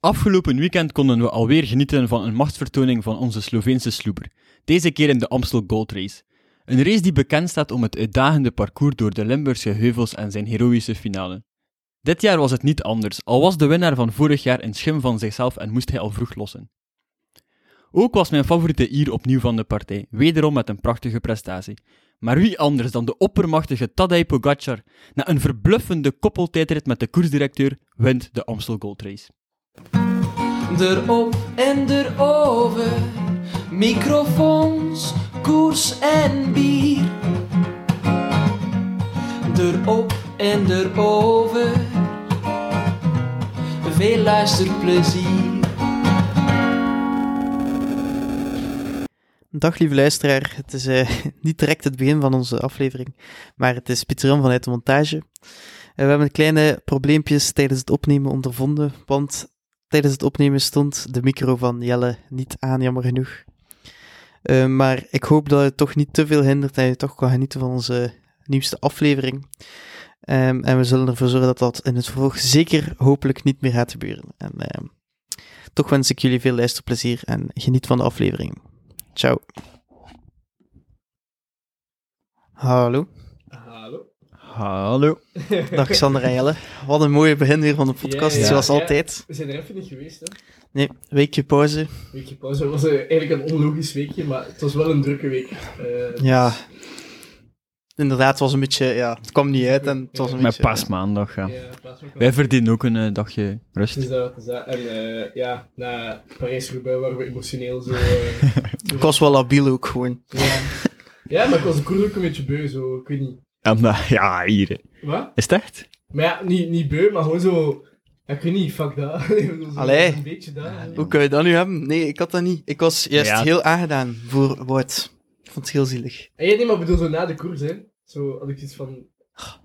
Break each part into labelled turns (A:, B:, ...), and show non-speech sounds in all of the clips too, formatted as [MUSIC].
A: Afgelopen weekend konden we alweer genieten van een machtsvertoning van onze Sloveense sloeber. Deze keer in de Amstel Gold Race. Een race die bekend staat om het uitdagende parcours door de Limburgse heuvels en zijn heroïsche finale. Dit jaar was het niet anders, al was de winnaar van vorig jaar een schim van zichzelf en moest hij al vroeg lossen. Ook was mijn favoriete Ier opnieuw van de partij, wederom met een prachtige prestatie. Maar wie anders dan de oppermachtige Tadej Pogacar, na een verbluffende koppeltijdrit met de koersdirecteur, wint de Amstel Gold Race.
B: Erop en erover, microfoons, koers en bier. Erop en erover, veel luisterplezier.
C: Dag lieve luisteraar, het is eh, [LAUGHS] niet direct het begin van onze aflevering, maar het is Pieter Jan vanuit de montage. Eh, we hebben kleine probleempjes tijdens het opnemen ondervonden, want tijdens het opnemen stond de micro van Jelle niet aan, jammer genoeg. Eh, maar ik hoop dat het toch niet te veel hindert en je toch kan genieten van onze nieuwste aflevering. Ehm, en we zullen ervoor zorgen dat dat in het vervolg zeker hopelijk niet meer gaat gebeuren. En ehm, toch wens ik jullie veel luisterplezier en geniet van de aflevering. Ciao. Hallo.
A: Hallo.
D: [LAUGHS]
C: Dag Xander en Jelle. Wat een mooie begin weer van de podcast,
D: Ja, ja,
C: zoals
D: ja.
C: altijd.
D: We zijn er even niet geweest, hè.
C: Nee, weekje pauze.
D: Weekje pauze. Het was eh, eigenlijk een onlogisch weekje, maar het was wel een drukke week. Eh,
C: Ja. Inderdaad, het was een beetje... Ja, het kwam niet uit en het was een
A: Met
C: beetje...
A: paasmaandag, ja.
D: ja, in plaats van-
A: Wij verdienen ook een eh, dagje rust.
D: Het is Dus dat, het is dat. En eh, ja, na Parijs-Roubaix waren we emotioneel zo... eh,
A: [LAUGHS]
C: Ik was wel labiel ook gewoon.
D: ja. ja, maar ik was de koers ook een beetje beu, zo. Ik weet niet.
A: En, eh, ja, hier. hè.
D: Wat?
A: Is het echt?
D: Maar ja, niet, niet beu, maar gewoon zo... ja, ik weet niet, fuck dat. [LAUGHS] Zo
C: Allee.
D: Een beetje dat. hè.
C: Hoe kan je dat nu hebben? Nee, ik had dat niet. Ik was juist
A: Ja.
C: heel aangedaan voor Wout. Ik vond het heel zielig.
D: En jij neemt Eh, maar ik bedoel, zo na de koers, hè. Zo had ik iets van...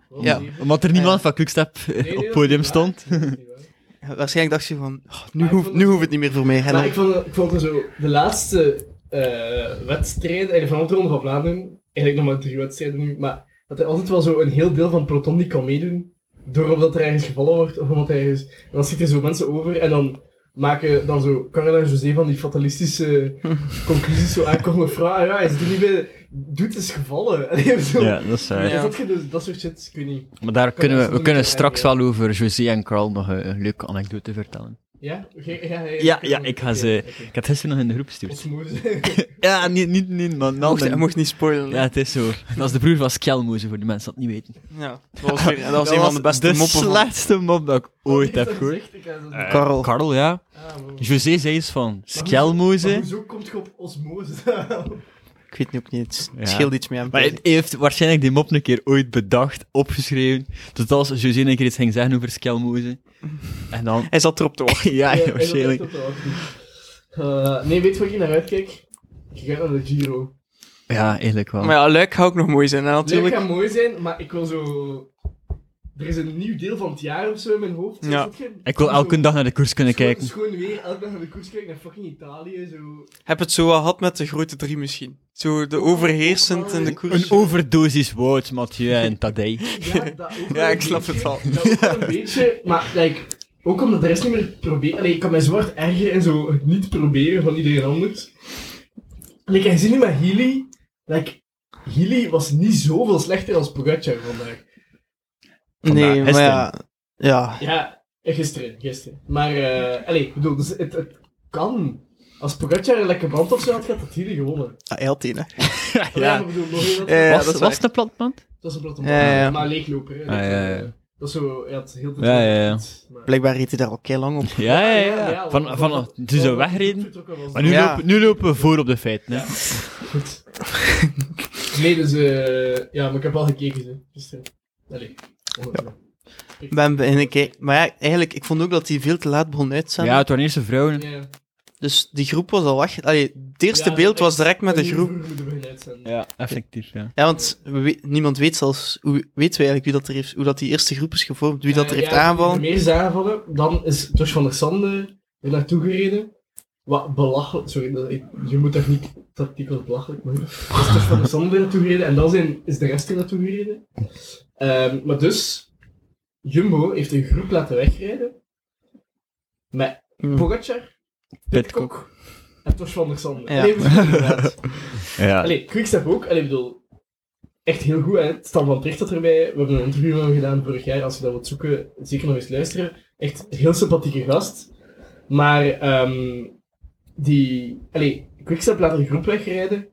D: wat
C: Ja.
D: een leven.
A: Omdat er niemand van Quickstep eh,
D: Nee, nee,
A: op
D: dat
A: het
D: is
A: podium
D: niet waar.
A: stond.
D: Dat is niet waar.
C: Waarschijnlijk dacht je van... oh, nu,
D: Maar ik
C: hoeft,
D: vond
C: nu
D: het-
C: hoeft het niet meer voor mij. En
D: Maar
C: dan-
D: ik vond, ik vond er zo de laatste eh wedstrijd, eigenlijk van de Ronde van Vlaanderen, eigenlijk nog maar drie wedstrijden nu, maar dat er altijd wel zo een heel deel van het peloton die kan meedoen, door omdat er ergens gevallen wordt, of omdat er ergens... En dan zitten zo mensen over, en dan maken dan zo Carla en José van die
C: [LAUGHS]
D: fatalistische conclusies zo aankomen van, ah ja, hij is er niet bij, doet is gevallen. [LAUGHS] En die hebben zo...
A: Ja, dat is waar.
C: Ja.
D: Dat, je dus- dat soort shit, ik weet niet.
A: Maar daar kunnen
D: Kunnen we
A: we, we
D: zo
A: kunnen
D: meteen
A: straks wel
D: eigenlijk,
A: over José en Carl nog een, een leuke anekdote vertellen.
D: Ja? Oké, ja,
A: Ja, ja, ik ga
D: oké,
A: ze-
D: oké.
A: Ik had gisteren nog in de groep gestuurd.
D: Osmose.
A: Ja, niet, niet, niet man.
C: mocht, hij mocht niet spoilen.
A: Ja,
C: Ja.
A: het is zo. Dat is de broer van Skelmoze, voor die mensen dat niet weten.
C: dat was, weer- dat was een van de beste moppen van-
A: slechtste mop dat ik ooit
D: Wat [LAUGHS]
A: heb
D: is Oh, dat
A: gehoord.
D: gezicht? Ik ga zo-
A: Eh,
C: Karel.
A: Karel, ja.
D: Ah, wow.
A: José zei eens van Skelmoze.
D: Maar hoezo komt je op osmose? [LAUGHS]
C: Ik weet nu ook niet. Het
A: Ja.
C: scheelt iets meer aan.
A: Maar hij heeft waarschijnlijk die mop een keer ooit bedacht, opgeschreven. Tot als José een keer iets ging zeggen over Skelmoze. En
C: [LAUGHS]
A: dan...
C: Hij zat erop te wachten.
A: Ja,
D: Eh,
A: waarschijnlijk.
D: dat is ook wel goed. Eh, nee, weet je waar ik naar uitkijk? Ik ga naar de Giro.
A: Ja, eigenlijk wel.
C: Maar ja, leuk gaat ook nog mooi zijn hè,
D: Leuk
C: natuurlijk.
D: gaat mooi zijn, maar ik wil zo... Er is een nieuw deel van het jaar of zo in mijn hoofd.
C: Ja.
D: Is dat geen-
A: Ik wil
D: Zo-
A: elke dag naar de koers kunnen
D: schoon-
A: kijken.
D: Schoon weer, elke dag naar de koers kijken naar fucking Italië. Zo.
C: Heb het zo wel gehad met de grote drie misschien. Zo de overheersend in de koers.
A: Een overdosis Wout, Mathieu en Tadej.
D: Ja, dat ook wel
C: Ja,
D: een
C: ik snap het
D: beetje.
C: al.
D: Dat ook wel een beetje, maar like, ook omdat de rest niet meer probeert. Allee, ik kan mij zo hard ergeren en zo het niet proberen van iedereen anders. Like, en zie nu met Healy. Like, Healy was niet zoveel slechter als Pogacar vandaag.
A: Vandaag,
C: Nee, maar
A: gisteren.
C: ja. Ja,
D: Ja, eh, gisteren, gisteren. Maar, eh allee, ik bedoel, dus het, het kan. Als Pogacar een lekker band of zo had, had dat Healy gewonnen.
C: ah, hij had tien, hè.
D: Allee,
C: Ja.
D: maar ik bedoel, nog heel dat-
C: Eh,
A: was
C: dat
A: was
C: is waar.
A: het een platman?
D: Dat is een platte
C: Ja, ja, ja.
D: maar leegloper. hè.
A: Ah,
D: Dat,
A: ja,
D: eh,
A: ja.
D: Dat is zo, hij had heel de
A: Ja, ja, ja.
D: maar-
C: Blijkbaar reed hij daar ook heel lang op.
A: Ah, Ja, ja,
D: Ja,
A: ja.
D: ja,
A: Van,
D: want-
A: van,
D: want-
A: toen ze
D: want-
A: wegreden.
D: vertrokken was
A: Maar nu,
C: Ja.
A: lopen, nu lopen we voor op de feiten. Hè.
C: [LAUGHS]
D: Goed. Nee, dus eh, ja, maar ik heb al gekeken. Hè. Dus, eh, allee. Ja.
C: Ben beginnen kijken. Maar ja, eigenlijk, ik vond ook dat hij veel te laat begon uit te
A: Ja,
C: zenden.
A: het waren eerst de vrouwen.
D: Ja.
C: Dus die groep was al weg. Allee, het eerste
D: Ja,
C: beeld
D: dat-
C: was direct met de groep.
D: Vroeger moeten we beginnen uitzenden.
A: Ja, effectief, ja.
C: Ja, want we we- niemand weet zelfs, hoe weten we eigenlijk wie dat er heeft, hoe dat die eerste groep is gevormd, wie dat er
D: Eh,
C: heeft
D: ja,
C: aangevallen.
D: Meer is aangevallen. Dan is Josh van der Sande er naartoe gereden. Wat belachelijk. Sorry, dat, ik- je moet daar niet tactiek als belachelijk maar Dus Josh van der Sande er naartoe gereden en dan zijn, is de rest er naartoe gereden. Ehm, maar dus, Jumbo heeft een groep laten wegrijden. Met Pogacar, [LAUGHS] Pitcock
A: Pitcock.
D: en Tosh van der Sande.
C: Ja.
D: Allee, we- inderdaad.
A: Ja.
D: Allee, Quickstep ook. Allee, ik bedoel, echt heel goed. Hè? Stan van Tricht zat erbij. We hebben een interview met hem gedaan vorig jaar. Als je dat wilt zoeken, zeker nog eens luisteren. Echt een heel sympathieke gast. Maar ehm, die... Allee, Quickstep laat een groep wegrijden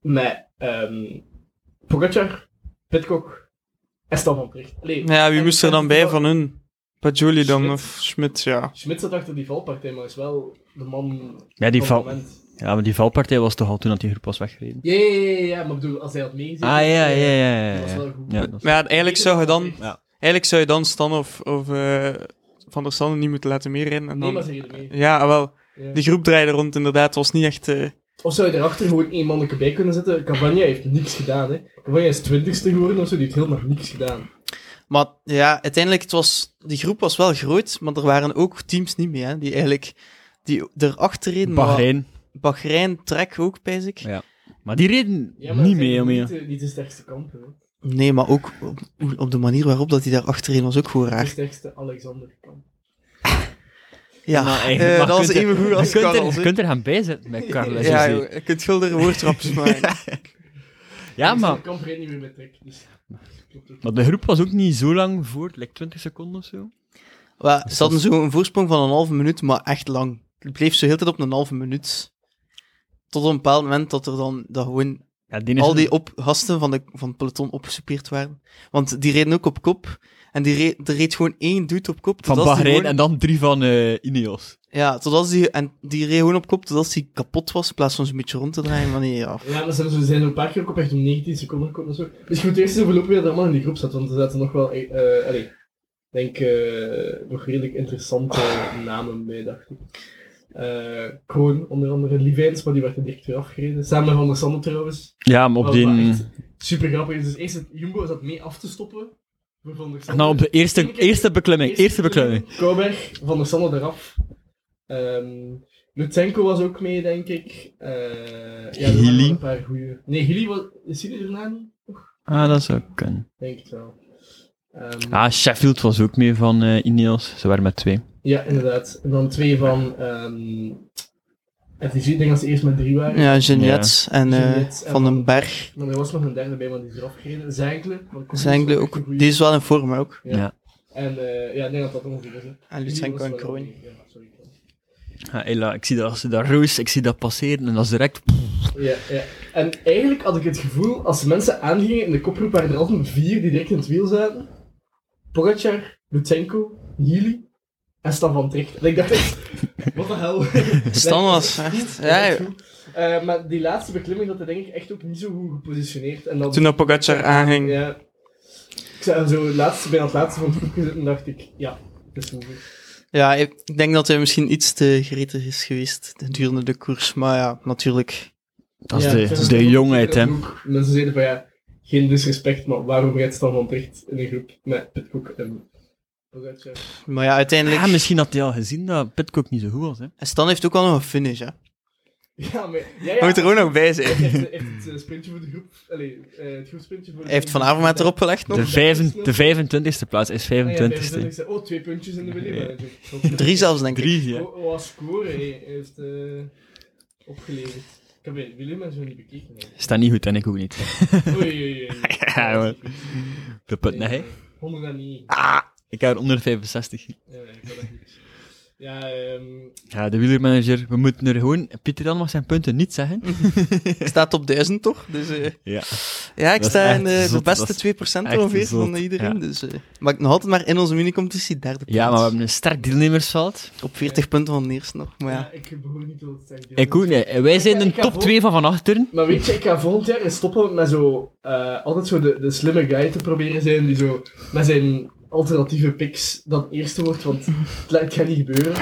D: met ehm Pogacar, Pitcock en Stan van Tricht. Allee,
E: Ja, wie
D: en-
E: moest er
D: en-
E: dan bij van hun? Pajoli dan
D: Schmidt.
E: of Schmidt, ja.
D: Schmidt zat achter die valpartij, maar is wel de man
A: Ja, die
D: van het
A: val...
D: moment.
A: ja, maar die valpartij was toch al toen dat die groep was weggereden?
D: Ja, ja, ja, ja, maar ik bedoel, als hij had meegezeten...
A: Ah, ja, ja, ja. ja,
D: Dat was
A: ja.
D: wel goed.
A: Ja, dat was-
E: Maar ja, eigenlijk zou je dan,
A: Ja.
E: eigenlijk zou je dan Stan of, of eh, Van der Sande niet moeten laten meerijden. En
D: Nee, maar
E: dan...
D: ze reden mee.
E: Ja, ah, wel.
D: Ja.
E: Die groep draaide rond inderdaad. Het was niet echt... eh,
D: Of zou je erachter gewoon één manneke bij kunnen zetten? Cavagna heeft niks gedaan, hè. Cavagna is twintigste geworden of zo, die heeft helemaal niks gedaan.
C: Maar ja, uiteindelijk, het was, die groep was wel groot, maar er waren ook teams niet mee, hè, die eigenlijk die erachter reden. maar-
A: Bahrein.
C: Bahrein, Trek ook, pijs ik.
A: Ja. Maar die reden
D: Ja, maar
A: niet
D: het zijn
A: mee, om
D: Niet,
A: je.
D: de- niet de sterkste kamp, hè.
C: Nee, maar ook op, op de manier waarop dat hij daar achterin was ook gewoon
D: De
C: raar.
D: sterkste Alexander kamp.
C: Ja,
A: Maar
C: eh,
A: eigenlijk- Nou, maar
C: dat was
A: kunt er-
C: even goed
A: Je
C: als
A: kunt er-
C: Karel.
A: je kunt er gaan bijzetten met dus Carles.
E: ja,
A: José.
E: joh, je kunt gulder
A: [LAUGHS]
E: woordtrapjes maken.
A: ja, maar...
D: De kamp reed niet meer met trek, dus... klopt ook.
A: Maar de groep was ook niet zo lang voor, like 20 seconden of zo.
C: Maar Ze hadden zo een voorsprong van een halve minuut, maar echt lang. Het bleef zo heel de tijd op een halve minuut. Tot op een bepaald moment dat er dan dat gewoon
A: Ja, die is
C: al die op gasten van, de, van het peloton opgesoupeerd waren. Want die reden ook op kop. En die reed, er reed gewoon één dude op kop.
A: van
C: totdat die
A: Bahrein
C: gewoon-
A: en dan drie van eh, Ineos.
C: Ja, totdat die, en die reed gewoon op kop totdat hij kapot was, in plaats van zo'n beetje rond te draaien. Maar nee, ja.
D: Ja, maar ze ze zijn er een paar keer ook op echt om 19 seconden gekomen en zo. Dus je moet eerst eens overlopen wie er allemaal in die groep zat, want er zaten nog wel, eh eh, allee, ik denk eh, nog redelijk interessante namen bij, dacht ik. Eh, Kroon, onder andere, Livijns, maar die werd er direct weer afgereden. Samen met Van der Sande trouwens.
A: Ja, maar op
D: Wat
A: die...
D: wel echt Super grappig is. Dus eerst het Jumbo zat mee af te stoppen. Voor Van der
A: En
D: Sande.
A: dan Nou, op de eerste, eerste beklimming, eerste beklimming.
D: Kouwberg, Van der Sande eraf. Ehm Lutsenko was ook mee, denk ik. Eh ja, er waren
A: Healy?
D: wel een paar goeie. Nee, Hilly was... Is Hilly erna niet?
A: Ah, dat zou kunnen.
D: Denk het wel. Ehm,
A: Ah, Sheffield was ook mee van eh, Ineos. Ze waren met twee.
D: Ja, inderdaad. En dan twee van... ehm FDG, ik denk dat ze eerst met drie waren.
C: Ja, Geniet en eh,
D: Geniet en
C: Van den Berg.
D: Maar er was nog een derde bij, maar die is eraf gereden. Zijnkle. maar Koen is
C: Zijn eigenlijk
D: wel echt een
C: ook,
D: goeie.
C: die is wel in vorm hè, ook.
D: Ja.
A: Ja.
D: En eh, ja, ik denk dat dat ongeveer is. hè.
C: En
D: Hilly
C: Ah, Lutsenko
D: was
C: en
D: wel
C: Kroon.
D: oké. Ja, sorry.
A: Ah, Ella, ik zie dat, als ze daar roos, ik zie dat passeren en dat is direct...
D: Ja, ja. En eigenlijk had ik het gevoel, als mensen aangingen in de koproep, waren er altijd vier die direct in het wiel zaten. Pogacar, Lutsenko, Healy en Stan van Tricht. En ik dacht echt, [LAUGHS] wat de [LAUGHS] hel.
C: Stan
D: Nee,
C: was echt... Ja,
D: dat is
C: ja.
D: goed. Eh, maar die laatste beklimming had hij denk ik echt ook niet zo goed gepositioneerd. En dan,
E: Toen dat Pogacar aanging.
D: Ja. Ik zou zo het laatste, bijna het laatste van het groepje zitten en dacht ik, ja, dat is over.
C: ja, ik ik denk dat hij misschien iets te gretig is geweest gedurende de koers. Maar ja, natuurlijk.
A: Dat is
D: Ja,
A: de,
D: ik
A: dat
D: vind
A: is
D: het
A: de
D: ook-
A: jongheid, hè.
D: ook Mensen zeiden van ja, geen disrespect, maar waarom rijdt Stan van Tricht in een groep met Pitcock en Pogacar?
C: Maar ja, uiteindelijk...
A: Ja, misschien had hij al gezien dat Pitcock niet zo goed was, hè.
C: En Stan heeft ook al nog een finish, hè.
D: [LAUGHS] Ja, maar... Ja,
E: Moet er
D: ja.
E: ook nog bij
D: Hij
E: zijn.
D: heeft, hij heeft het eh, sprintje voor de groep... Allee, eh, het groepsprintje voor de
C: Hij heeft Van Avermaet erop gelegd nog.
A: De, vijven, de 25e plaats is
D: Ah ja,
A: 25e.
D: 25e. Oh, twee puntjes in de
A: Ja.
D: Willy.
C: [LAUGHS] Drie zelfs, denk ik.
A: Drie, ja.
D: Oh, oh, score, hij heeft eh, opgeleverd. Ik heb bij Willem en zo niet bekeken. hè.
A: Staat niet goed en ik ook niet.
D: Oei, oei, oei.
A: [LAUGHS]
C: [LAUGHS]
D: Eh,
A: Ja, man. De punt, nee. hè.
D: 109.
C: Ah.
A: Ik heb er onder 65.
D: Ja, ik kan dat niet. Ja, ehm
A: Ja, de wielermanager, we moeten er gewoon... Pieter Jan mag zijn punten niet zeggen.
C: Ik staat op duizend, toch? Dus, eh,
A: Ja.
C: ja,
A: Dat
C: ik
A: is
C: sta in
A: echt
C: eh, de
A: zot, dat
C: beste
A: is
C: 2%
A: echt
C: ongeveer
A: zot,
C: van iedereen.
A: ja.
C: Dus, eh, maar ik nog altijd maar in onze minicompetitie derde plaats.
A: Ja, maar we hebben een sterk deelnemersveld.
C: Op 40 punten van de eerste nog. Maar ja.
D: ja, ik behoor niet tot het zeggen.
A: Ik ook niet. En Wij zijn de
D: Ik ga
A: top
D: vol-
A: 2 van van achteren.
D: Maar weet je, ik ga volgend jaar eens stoppen met zo... eh, altijd zo de, de slimme guy te proberen zijn, die zo met zijn alternatieve picks dan eerste wordt, want het, lijkt- het gaat niet gebeuren.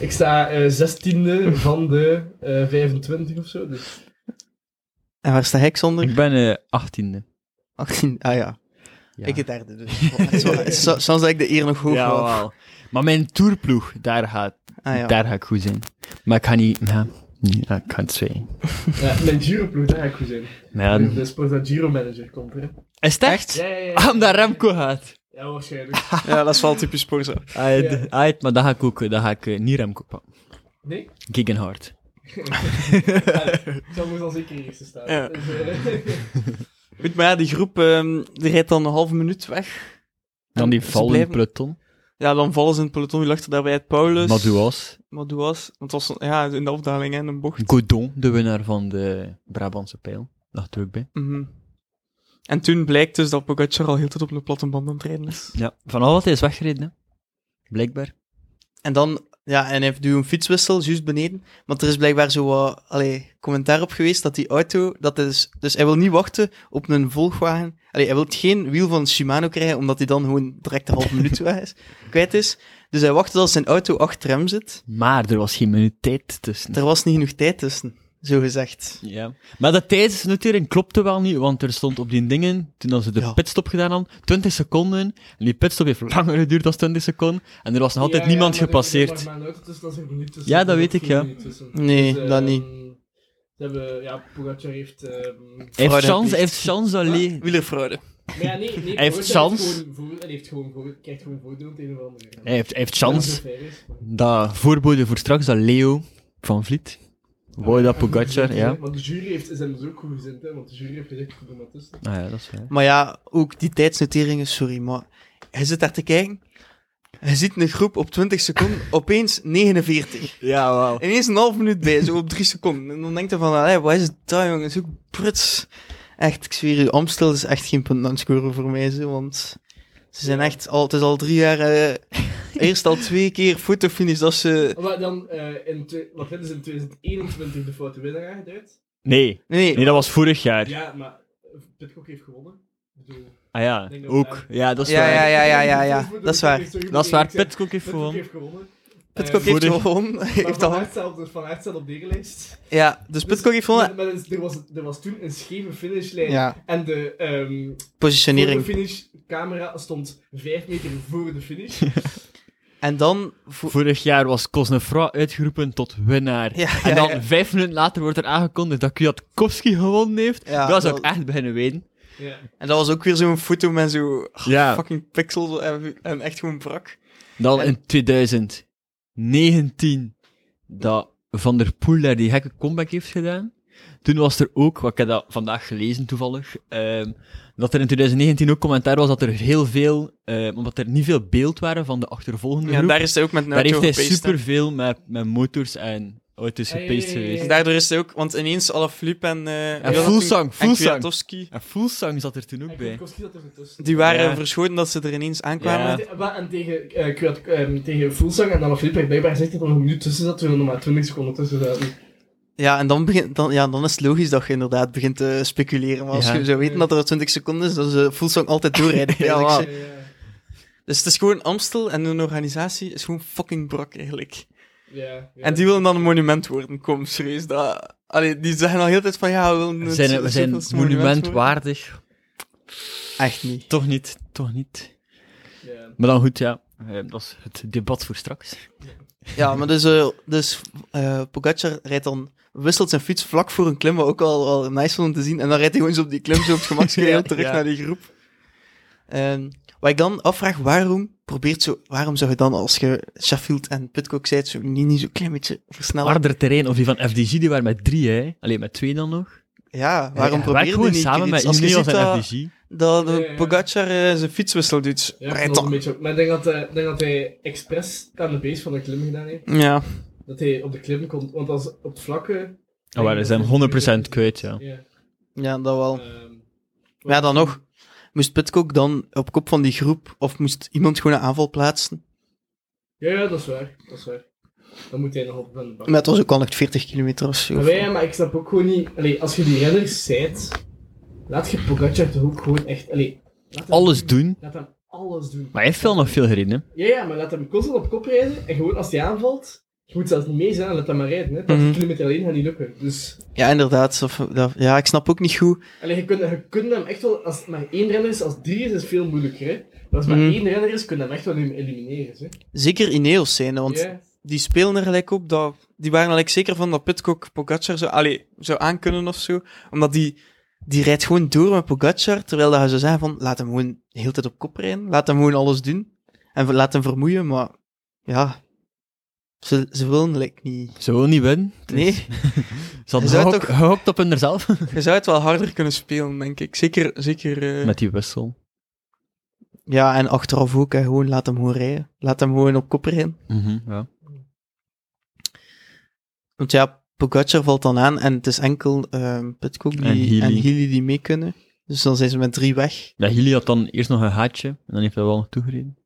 D: Ik sta eh, zestiende van de eh 25 of zo, dus...
C: En waar sta ik zonder?
A: Ik ben eh, achttiende. 18e.
C: 18. Ah ja.
A: Ja.
C: Ik het derde, dus. [LAUGHS] Zo- zo- Soms dat ik de eer nog hoog
A: Ja,
C: wou.
A: wel. Maar mijn tourploeg, daar gaat,
C: Ah ja.
A: daar ga ik goed zijn. Maar ik ga niet... Ja, nee, ja, ik ga het twee.
D: Ja, mijn Giro-ploeg, daar ga ik goed zijn.
A: Maar ja,
D: De Sporza Giro-manager komt er. hè.
A: is het echt?
D: [LAUGHS] Ja, ja, ja.
A: Ah, Omdat Remco gaat.
D: Ja, waarschijnlijk.
E: Ja, dat is wel typisch Sporza.
A: Uit,
D: Ja.
A: uit, maar dat ga ik ook, dat ga ik eh, niet Remco pakken.
D: Nee?
A: Gegenhard.
D: Zo moet al zeker eerste staan.
E: Ja.
D: Dus, eh,
E: Goed, maar ja, die groep ehm, die rijdt dan een halve minuut weg.
A: Dan die
E: Ze
A: vallen in
E: blijven-
A: peloton.
E: Ja, dan vallen ze in het peloton. Wie lag er daarbij uit? Paulus.
A: Madouas.
E: Madouas. Want het was ja, in de afdaling, hè, in een bocht.
A: Godon, de winnaar van de Brabantse pijl. Dacht er ook bij.
E: Mhm. En toen blijkt dus dat Pogacar al heel de tijd op een platte band aan het rijden is.
A: Ja, van al wat hij is weggereden, hè. Blijkbaar.
C: En dan, ja, en hij heeft nu een fietswissel, juist beneden. Want er is blijkbaar zo wat allee, commentaar op geweest dat die auto, dat is, dus hij wil niet wachten op een volgwagen. Allee, hij wil geen wiel van Shimano krijgen, omdat hij dan gewoon direct een halve minuut weg is, kwijt is. Dus hij wacht tot als zijn auto achter hem zit.
A: Maar er was geen minuut tijd tussen.
C: Er was niet genoeg tijd tussen, zo gezegd.
A: Ja. Maar dat tijdsnotering klopte wel niet, want er stond op die dingen, toen dat ze de
C: Ja.
A: pitstop gedaan hadden, 20 seconden. En die pitstop heeft langer geduurd dan 20 seconden. En er was nog altijd
D: [LAUGHS] ja, ja,
A: niemand
D: maar er- Er
A: gepasseerd.
D: lag maar een auto tussen, dat is er een minuut tussen.
A: Ja,
D: Er
A: dat
D: lag
A: weet ik,
D: geen
A: ja.
D: minuut tussen.
C: Nee,
D: Dus,
C: dat
D: ehm,
C: niet.
D: Ze hebben, ja, Pogacar heeft... ehm,
A: Hij heeft
C: Fraude
A: chance, hij
C: gepleegd.
A: heeft chance alleen.
C: Wielerfraude.
D: Maar ja, nee, nee,
A: Hij heeft
D: Pogacar
A: chance.
D: gewoon voor- Hij heeft gewoon voor- krijgt gewoon voordeel tegen de andere.
A: Hij heeft, hij heeft
D: Ja, dat
A: chance.
D: is fair is, maar-
A: Dat voorbode voor straks, dat Leo van Vliet. Wou dat Pogacar, ja.
D: Want de jury heeft zijn dus ook goed gezind, hè, want de jury heeft gezegd, ik doe maar tussen.
A: Nou ja, dat is waar.
C: Maar ja, ook die tijdsnoteringen, sorry, maar hij zit daar te kijken. Hij ziet een groep op 20 seconden, opeens 49.
A: Ja, wauw.
C: Ineens een half minuut bij, zo op drie seconden. En dan denkt hij van, allee, wat is het daar, jongen? Zo pruts. Echt, ik zweer u, Amstel is echt geen punt aan het scoren voor mij, zo, want ze zijn echt al, het is al drie jaar, eh, eerst al twee keer fotofinish dat ze...
D: Maar dan, eh in twe- want dit is in 2021 de foute winnaar aangeduid.
A: Nee,
C: Nee,
A: nee, dat was vorig jaar.
D: Ja, maar eh, Pitcock heeft gewonnen. Ik bedoel,
A: Ah ja,
D: denk dat we
A: ook.
D: daar-
A: Ja, dat is
C: Ja,
A: waar.
C: ja, ja, ja, ja, ja.
D: moet ik
C: Dat is waar.
D: even zeggen,
A: Dat is waar,
D: ik zeg,
A: Pitcock heeft
D: Pitcock
A: gewonnen.
D: heeft gewonnen.
C: Pitcock
D: Eh,
C: heeft
A: voordeel-
C: gewonnen. [LAUGHS]
D: Maar
C: Heeft
D: van
C: al...
D: Aert staat dus van Aert staat op deze lijst.
C: Ja, dus
D: Dus-
C: Pitcock heeft gewonnen.
D: Maar, maar er, was, er was toen een scheve finishlijn.
C: Ja,
D: En de, ehm voor de
C: positionering.
D: finishcamera stond 5 meter voor de finish.
C: En dan... vo-
A: Vorig jaar was Cosnefra uitgeroepen tot winnaar.
C: Ja,
A: En
C: ja,
A: dan
C: ja.
A: vijf minuten later wordt er aangekondigd dat Kwiatkowski gewonnen heeft.
C: Ja,
A: dat zou ik
C: dat-
A: echt beginnen weten.
D: ja.
C: En dat was ook weer zo'n foto met zo
A: Ja.
C: fucking pixels en, en echt gewoon brak.
A: Dan
C: En-
A: in 2019 dat Van der Poel daar die gekke comeback heeft gedaan. Toen was er ook, wat ik heb dat vandaag gelezen toevallig, ehm, dat er in 2019 ook commentaar was dat er heel veel, ehm, omdat er niet veel beeld waren van de achtervolgende
E: Ja,
A: groep,
E: daar is hij ook met een
A: daar heeft
E: auto
A: hij
E: gepaced, hè.
A: superveel met, met motors en auto's
D: Ah, ja, ja,
A: gepaced
D: ja, ja, ja.
A: geweest.
E: En daardoor is hij ook, want ineens alle Flip en... eh
A: En
E: Jonathan-
A: Fuglsang,
E: En
A: Fuglsang.
E: Kwiatkowski,
A: En Fullsang zat er toen ook
D: En
A: bij.
D: Kwiatkowski zat er tussen.
E: die waren
A: Ja.
E: verschoten dat ze er ineens aankwamen.
A: Ja.
D: En te- wa- En tegen, eh Kwiat, ehm, tegen Fulsang en dan Filip heeft blijkbaar gezegd dat er nog een minuut tussen zat, terwijl er nog maar 20 seconden tussen zaten.
C: Ja, en dan, begint, dan, ja, dan is het logisch dat je inderdaad begint te speculeren. Maar als
A: Ja.
C: je zou weten dat er 20 seconden is, dan ze Fullsong altijd
A: [LAUGHS]
C: doorrijden.
A: Ja,
C: eigenlijk.
A: waar.
D: Ja, ja.
C: Dus het is gewoon Amstel en hun organisatie is gewoon fucking brak eigenlijk.
D: Ja, ja.
E: En die willen dan een monument worden, kom, serieus. Dat... Allee, die zeggen al heel de tijd van, ja, we willen...
A: We
E: het
A: zijn, we
E: zoveelste
A: zijn
E: monument worden.
A: monumentwaardig.
C: Echt niet.
A: Toch niet, toch niet.
D: Ja.
A: Maar dan goed, ja. eh, dat is het debat voor straks.
C: Ja, maar dus, eh, dus eh, Pogacar rijdt dan, wisselt zijn fiets vlak voor een klim, wat ook al, al nice vond om te zien. En dan rijdt hij gewoon zo op die klim,
D: [LAUGHS]
C: zo op het gemak
A: Ja,
C: terug
A: ja.
C: naar die groep. Ehm wat ik dan afvraag, waarom, probeert zo, waarom zou je dan als je Sheffield en Pitcock zijt, zo niet, niet zo'n klein beetje versnellen?
A: Harder terrein, of die van FDG, die waren met drie, hè. Alleen met twee dan nog.
C: ja, waarom
A: Ja,
C: probeer
A: werk
C: je
A: gewoon
C: niet
A: samen met
C: iets? Als je
A: Ineos
C: ziet
A: en
C: dat,
A: FDG.
C: dat eh,
D: Ja, ja, ja.
C: Pogacar eh, zijn fietswissel doet,
D: Ja,
C: rijdt
D: dat een
C: dan.
D: beetje op. Maar ik denk dat, eh, ik denk dat hij expres aan de base van de klim gedaan heeft.
C: Ja,
D: Dat hij op de klim komt, want als op het vlakke...
A: Oh, waar, ze zijn 100% kwijt, ja.
D: Ja.
C: ja, dat wel.
D: ehm,
C: Maar ja, dan nog. Moest Pitcock dan op kop van die groep, of moest iemand gewoon een aanval plaatsen?
D: Ja, ja, dat is waar. Dat is waar. Dan moet hij nog op aan de bak.
C: Maar het was ook al nog 40 kilometer of zo.
D: Maar, wij, maar ik snap ook gewoon niet... Allee, als je die renners zijt, laat je Pogacar toch ook gewoon echt... Allee, laat hem-
A: Alles doen.
D: Laat hem alles doen.
A: Maar hij heeft wel nog veel gereden, hè.
D: Ja, ja, maar laat hem constant op kop rijden. En gewoon als hij aanvalt, je moet zelfs niet mee zijn, laat hem maar rijden. Hè. 20
C: Mhm.
D: kilometer alleen gaat niet lukken. Dus...
C: Ja, inderdaad. Of, dat- ja, ik snap ook niet goed.
D: Allee, je kunt, je kunt hem echt wel, als het maar één renner is, als drie is, is het veel moeilijker. Hè? Maar als het maar
C: Mhm.
D: één renner is, kun je hem echt wel elim- elimineren. Hè?
C: Zeker Ineos zijn, want
D: Ja.
C: die spelen er gelijk op. Dat, die waren er gelijk zeker van dat Pitcock Pogacar zou, allee, zou aankunnen of zo. Omdat die die rijdt gewoon door met Pogacar, terwijl dat je zou zeggen van, laat hem gewoon de hele tijd op kop rijden, laat hem gewoon alles doen, en ver- laat hem vermoeien, maar ja, ze, ze willen like, niet.
A: Ze wil niet winnen.
C: Nee, [LAUGHS]
A: Ze hadden
C: Je zou
A: gehok-
C: toch-
A: gehokt op hunzelf.
E: Je zou het wel harder kunnen spelen, denk ik. Zeker, zeker eh,
A: [LAUGHS] Met die wissel.
C: ja, en achteraf ook, hè, gewoon laat hem gewoon rijden, laat hem gewoon op kop rijden.
A: ja.
C: Want ja, Pogacar valt dan aan en het is enkel ehm Pitcock die,
A: En Healy.
C: en Healy die mee kunnen. Dus dan zijn ze met drie weg.
A: ja, Hilly had dan eerst nog een haatje. En dan heeft hij wel nog toegereden.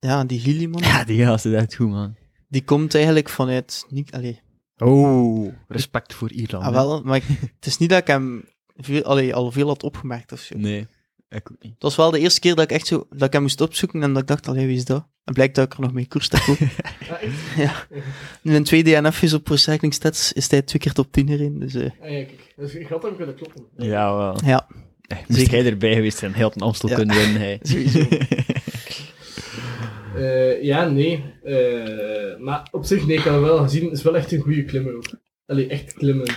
C: Ja, en die Healy man,
A: Ja, die gast is echt goed, man.
C: die komt eigenlijk vanuit... Niet, allee,
A: Oh, respect voor Ierland.
C: ah,
A: hè.
C: wel,
A: [LAUGHS]
C: maar ik- het is niet dat ik hem veel, allee, al veel had opgemerkt of zo.
A: Nee, ik ook niet.
C: Het was wel de eerste keer dat ik echt zo, dat ik hem moest opzoeken en dat ik dacht, allee, wie is dat? En blijkt dat ik er nog mee koers
A: [LAUGHS]
C: sta.
D: Ah, echt?
C: ja. Nu in twee DNF's op Pro Cycling Stats is hij twee keer top 10 erin,
A: [LAUGHS]
C: dus eh,
D: Ah, ja, kijk. Dus ik had hem kunnen kloppen.
A: Ja, wel.
C: ja.
A: Eh, Moest
C: Zeker.
A: jij erbij geweest zijn, heel een Amstel
C: Ja.
A: kunnen winnen,
C: [LAUGHS]
A: hij.
D: Eh, ja, nee. Eh, maar op zich, nee, ik had hem wel gezien. Het is wel echt een goede klimmer ook. Allee, echt klimmen.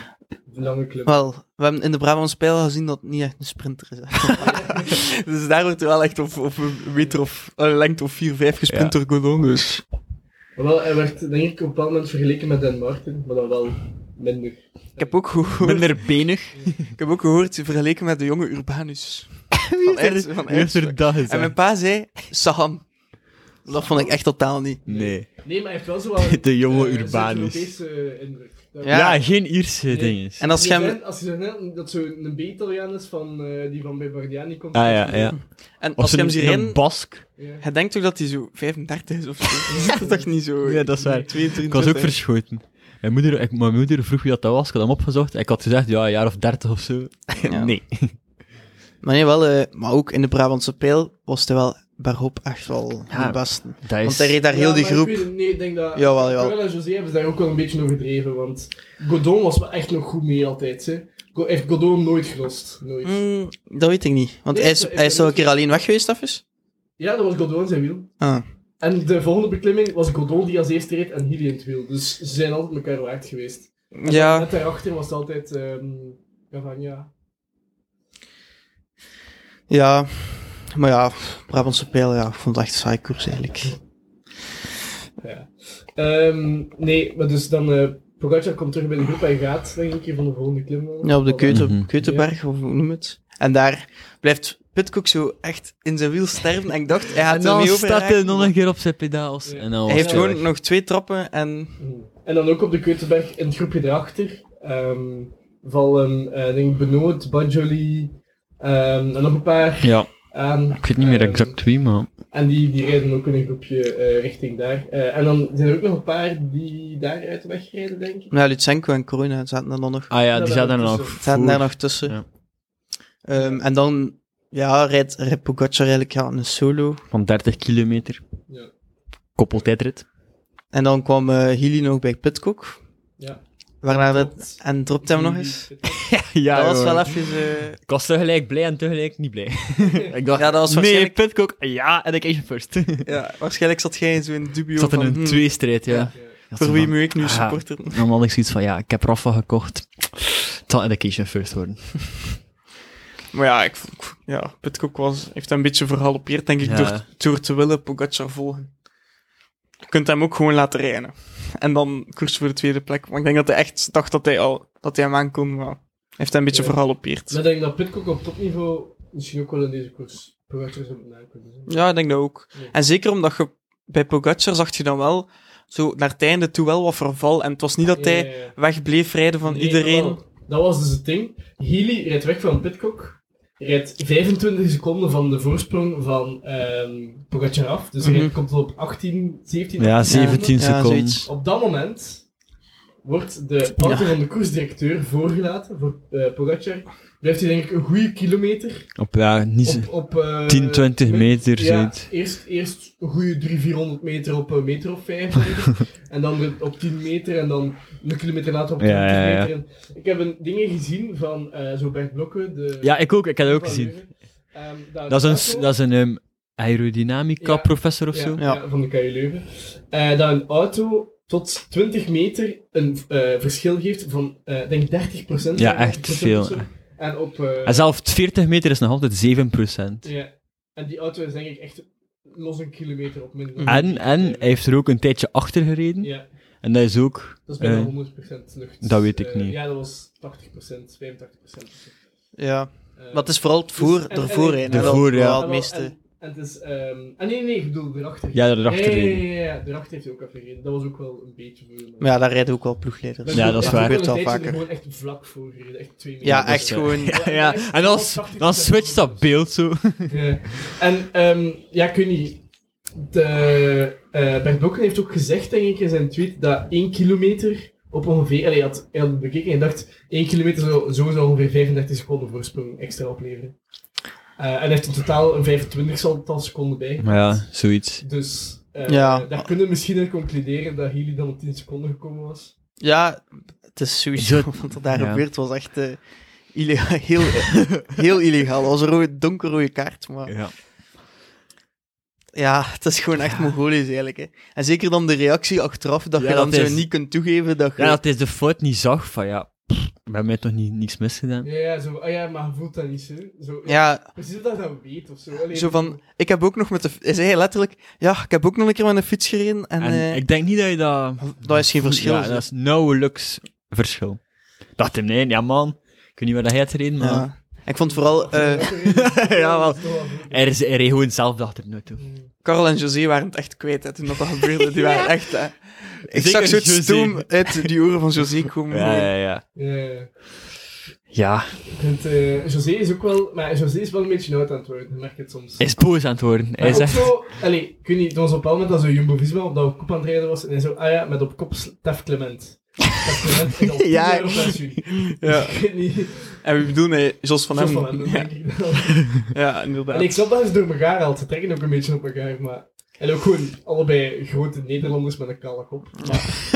D: Lange klimmen.
C: Wel, we hebben in de Brabant Spijl gezien dat het niet echt een sprinter is. [LAUGHS] dus daar wordt wel echt op, op een meter of, een lengte of 4, 5
A: gesprint
C: door Godon, dus...
D: Maar wel, hij werd denk ik op een bepaald moment vergeleken met Dan Martin, maar dan wel minder.
E: Dus Ik heb ook gehoord,
A: Minder benig.
E: ik heb ook gehoord vergeleken met de jonge
C: [LAUGHS]
E: Urbanus. Van Aert- van
A: Wie heeft er
E: Aertswijk.
A: dat
E: En mijn
A: gezegd?
E: pa zei,
C: Sam. Dat vond ik echt totaal niet.
A: Nee.
D: Nee, maar hij heeft wel
C: [LAUGHS]
D: zo wel
A: De jonge
D: eh, een
A: Urbanus.
D: Zuid-Europese indruk. Dat-
C: Ja.
A: Ja, geen Ierse
D: Nee.
A: dinges.
C: En als
D: Als
C: je
D: je
C: hem...
D: net- als je zo net dat zo'n B-Italiaan is van, eh, die van bij Bardiani komt.
A: Ah ja, ja.
C: En
A: Of
C: als je hem ziet
A: een,
C: rennen,
A: een Bask.
D: Ja.
E: hij denkt toch dat hij zo 35 is of zo? Dat is toch niet
C: [LAUGHS]
E: zo?
A: Ja, dat is waar.
E: 22,
A: Ik was ook verschoten. Mijn moeder, ik, mijn moeder vroeg wie dat was, ik had hem opgezocht. Ik had gezegd, ja, een jaar of dertig of zo. [LAUGHS]
C: Ja.
A: Nee.
C: Maar nee, wel, eh, maar ook in de Brabantse pijl was hij wel bergop echt wel
A: Ja,
C: de beste.
A: Dat
C: Want hij reed daar heel
D: Ja,
C: die
D: maar
C: groep.
D: Ik weet het, nee, ik denk dat.
C: Jawel, jawel.
D: Terwijl en José hebben ze daar ook wel een beetje overdreven, want Godon was wel echt nog goed mee altijd. Hè. Go- Heeft Godon nooit gelost. Nooit.
A: Hmm,
C: Mm, dat weet ik niet. Want
D: Nee,
C: hij is,
D: ik- ik-
C: hij is toch een keer alleen weg geweest, Afus?
D: Ja, dat was Godon zijn wiel.
C: Ah.
D: En de volgende beklimming was Godon die als eerste reed en Hilly in het wiel. Dus ze zijn altijd elkaar waard geweest. En
C: Ja,
D: Net daarachter was het altijd ehm Cavagna.
C: ja. Maar ja, Brabantse pijl, ja, ik vond het echt een saai koers eigenlijk.
D: Ja. Ehm, nee, maar dus dan. eh Pogacar komt terug bij de groep en gaat, denk ik, hier van de volgende klim. wel.
C: Ja, op de
D: Al dan-
C: Keuter,
A: Mhm.
C: Keuterberg, of hoe noem je het? En daar blijft Pitcock zo echt in zijn wiel sterven. En ik dacht,
A: En
C: hij gaat
A: dan
C: ermee
A: staat hij nog
C: over.
A: een keer op zijn pedaals.
D: Ja.
A: En dan
C: Hij
A: was
C: heeft
A: hij
C: gewoon
A: weg.
C: nog twee trappen en...
D: Mm. En dan ook op de Keuterberg in het groepje daarachter ehm, vallen eh denk ik Benoot, Bajoli ehm, en nog een paar
A: Ja,
D: aan.
A: ik weet niet meer
D: Ehm,
A: exact wie, maar...
D: En die, die rijden ook in een groepje eh, richting daar. Eh, en dan zijn er ook nog een paar die daar uit de weg rijden, denk ik.
C: Nou, Lutsenko en Corona zaten er dan nog.
A: Ah ja,
D: dat
A: die zaten er
D: is
A: nog
D: zo.
C: Zaten daar
A: voor.
C: nog tussen.
A: Ja.
C: Ehm, en dan, ja, rijdt, rijdt Pogacar eigenlijk ja, een solo.
A: Van 30 kilometer.
D: Ja.
A: Koppeltijdrit. [LAUGHS]
C: En dan kwam eh Healy nog bij Pitcock.
D: Ja.
C: Waarna dat, en dropte hem nog eens.
A: Ja,
C: dat was wel even... eh,
A: Ik was tegelijk blij en tegelijk niet blij. [LAUGHS] ik dacht,
C: Ja, dat was
A: nee,
C: waarschijnlijk-
A: Pitcock, ja, education first. [LAUGHS] ik
C: ja, waarschijnlijk zat jij in zo'n dubio
A: zat in
C: van...
A: een
C: hm,
E: hmm,
A: tweestrijd, hmm. ja. Dat
C: voor
A: ze
C: wie
A: van-
C: moet ik nu
A: Ah.
C: supporter?
A: Dan had ik zoiets van, ja, ik heb Rafa gekocht. Het zal education first worden.
E: Maar ja, ik, vond- ik vond- ja Pitcock was, heeft hem een beetje verhalopeerd, denk ik,
A: Ja.
E: door, door te willen Pogacar volgen. Je kunt hem ook gewoon laten rijden. En dan koers voor de tweede plek. Maar ik denk dat hij echt dacht dat hij, al, dat hij hem aankomt, maar hij heeft hem een beetje
D: Ja.
E: verhalopeerd.
D: Maar ik denk dat Pitcock op topniveau misschien ook wel in deze koers Pogacar zou moeten aankomen. hè.
E: Ja, ik denk dat ook.
D: Nee.
E: En zeker omdat je bij Pogacar zag je dan wel zo naar het einde toe wel wat verval. En het was niet dat hij
D: Ja, ja, ja.
E: wegbleef rijden van
D: Nee,
E: iedereen.
D: jawel. Dat was dus het ding. Healy rijdt weg van Pitcock. Rijdt 25 seconden van de voorsprong van ehm Pogacar af. Dus hij
E: Mhm.
D: komt al op 18, 17
A: Ja, 17
D: seconden.
C: Ja,
A: seconden.
C: zoiets.
D: Op dat moment wordt de auto van de koersdirecteur voorgelaten voor eh Pogacar. Blijft hij denk ik een goede kilometer.
A: Op, ja, niet zo-
D: Op, op, eh,
A: 10, 20 meter,
D: Ja,
A: zoiets.
D: eerst, eerst een goede 300, 400 meter op een meter of 5.
A: [LAUGHS]
D: en dan de- op 10 meter en dan een kilometer later op
A: Ja,
D: 20
A: ja, ja.
D: meter. En ik heb een dingen gezien van eh zo Bert Blokke. De,
A: Ja, ik ook, ik heb dat ook
D: van
A: gezien.
D: Leuven. Ehm,
A: Dat is
D: auto-
A: een, dat is een ehm, aerodynamica
D: Ja.
A: professor of
D: ja,
A: zo.
D: ja,
C: Ja.
D: van de KU Leuven. Eh, dat een auto tot 20 meter een eh, verschil geeft van, eh, denk 30
A: Ja, echt
D: 35% of
A: veel.
D: zo. En op... eh,
A: En zelf 40 meter is nog altijd 7%.
D: ja. En die auto is denk ik echt los een kilometer op minder. Eh,
A: En, en hij heeft er ook een tijdje achter gereden.
D: Ja,
A: En dat is ook...
D: dat is bijna
A: eh,
D: 100% lucht.
A: dat weet ik
D: Eh,
A: niet.
D: Ja, dat was 80%, 85%.
C: Ja.
D: Eh,
C: Maar het is vooral het voor,
D: en-
C: ervoor
D: en-
C: rijden.
A: De
C: hè, wel-
A: voor, ja.
C: wel
D: Ah,
C: het
D: wel,
C: meeste.
D: En, en het is... ehm, ah, nee, nee, ik bedoel erachter.
A: Ja, erachter
D: Ja, ja,
A: gereden.
D: ja, ja, erachter heeft hij ook even gereden. Dat was ook wel een beetje voor...
C: Maar ja, daar rijden ook wel ploegleiders.
A: Ja, dat is waar.
C: gebeurt wel
D: wel
C: vaker.
D: gewoon echt vlak voor gereden, echt twee meter.
C: [LAUGHS] Ja,
A: dat is
C: echt
A: waar.
C: gewoon...
D: Ja,
A: Ja,
D: echt
A: en dan,
D: 80%
A: dan switcht dat beeld zo.
D: Ja. En ehm, ja, ik weet niet. De, eh, Bert Blokken heeft ook gezegd, denk ik, in zijn tweet, dat 1 kilometer op ongeveer... Allee, hij had, hij had het bekeken en dacht, 1 kilometer zou sowieso ongeveer 35 seconden voorsprong extra opleveren. Eh, en hij heeft in totaal een 25 seconden bij.
A: Maar ja, zoiets.
D: Dus eh,
C: Ja.
D: daar kunnen we misschien in concluderen dat Healy dan op 10 seconden gekomen was.
C: Ja, het is sowieso,
A: Zo-
C: want wat daar
A: ja.
C: gebeurd was echt eh, illegaal, [LAUGHS] heel, heel illegaal. Dat was een rode, donkerrode kaart, maar
A: Ja.
C: ja, het is gewoon echt Mongolisch eigenlijk. Hè. En zeker dan de reactie achteraf, dat
A: Ja,
C: je dan
A: dat
C: zo
A: is-
C: niet kunt toegeven dat je...
A: ja, dat hij de fout niet zag van ja, pff, we hebben mij toch niet, niks misgedaan.
D: Ja, ja, zo, ah ja maar je voelt dat niet zo. zo
C: Ja,
D: Precies dat hij dat weet of zo. Allee,
C: zo
D: [LAUGHS]
C: van, ik heb ook nog met de... Hij zei letterlijk, ja, ik heb ook nog een keer met een fiets gereden en...
A: En
C: eh,
A: ik denk niet dat je dat...
C: dat is geen verschil.
A: Ja,
C: zo.
A: dat is nauwelijks verschil. Dacht hem, nee, ja man, ik weet niet waar dat hij het reden, maar...
C: Ja. Ik vond vooral, eh
A: [LAUGHS]
C: [LAUGHS]
A: ja, wel.
D: Dat is toch wel goed.
A: Er is er reed gewoon zelf achter nu toe.
E: Carl en José waren het echt kwijt hè, toen dat, dat gebeurde.
D: [LAUGHS]
E: Die waren echt... Hè. Ik
A: Zeker
E: zag zo'n
A: José.
E: stoom uit die oren van José komen.
A: Ja, ja, ja.
D: Ja.
A: Ja,
D: Ik vind, eh, José is ook wel... Maar José is wel een beetje oud aan het worden, merk ik het soms.
A: hij is boos aan het worden. Hij
D: Maar
A: is
D: ook
A: echt...
D: zo... Allee, ik weet niet, er was op een bepaald moment dat zo Jumbo-Visma op dat kop aan het rijden was, en hij zo, ah ja, met op kop sl- Tef Clement. Tef Clement, en dan tien
C: Ja.
D: jaar op pensioen.
E: Ja.
D: [LAUGHS] Ik weet niet,
E: En we bedoelen nee, Jos van
D: zo van hem,
E: Hemmen.
D: dat
E: Ja,
D: denk ik wel.
E: ja,
D: En ik
E: inderdaad.
D: snap dat ze door elkaar haalt, ze trekken ook een beetje op elkaar, maar... En ook gewoon allebei grote Nederlanders met een kale kop. Maar,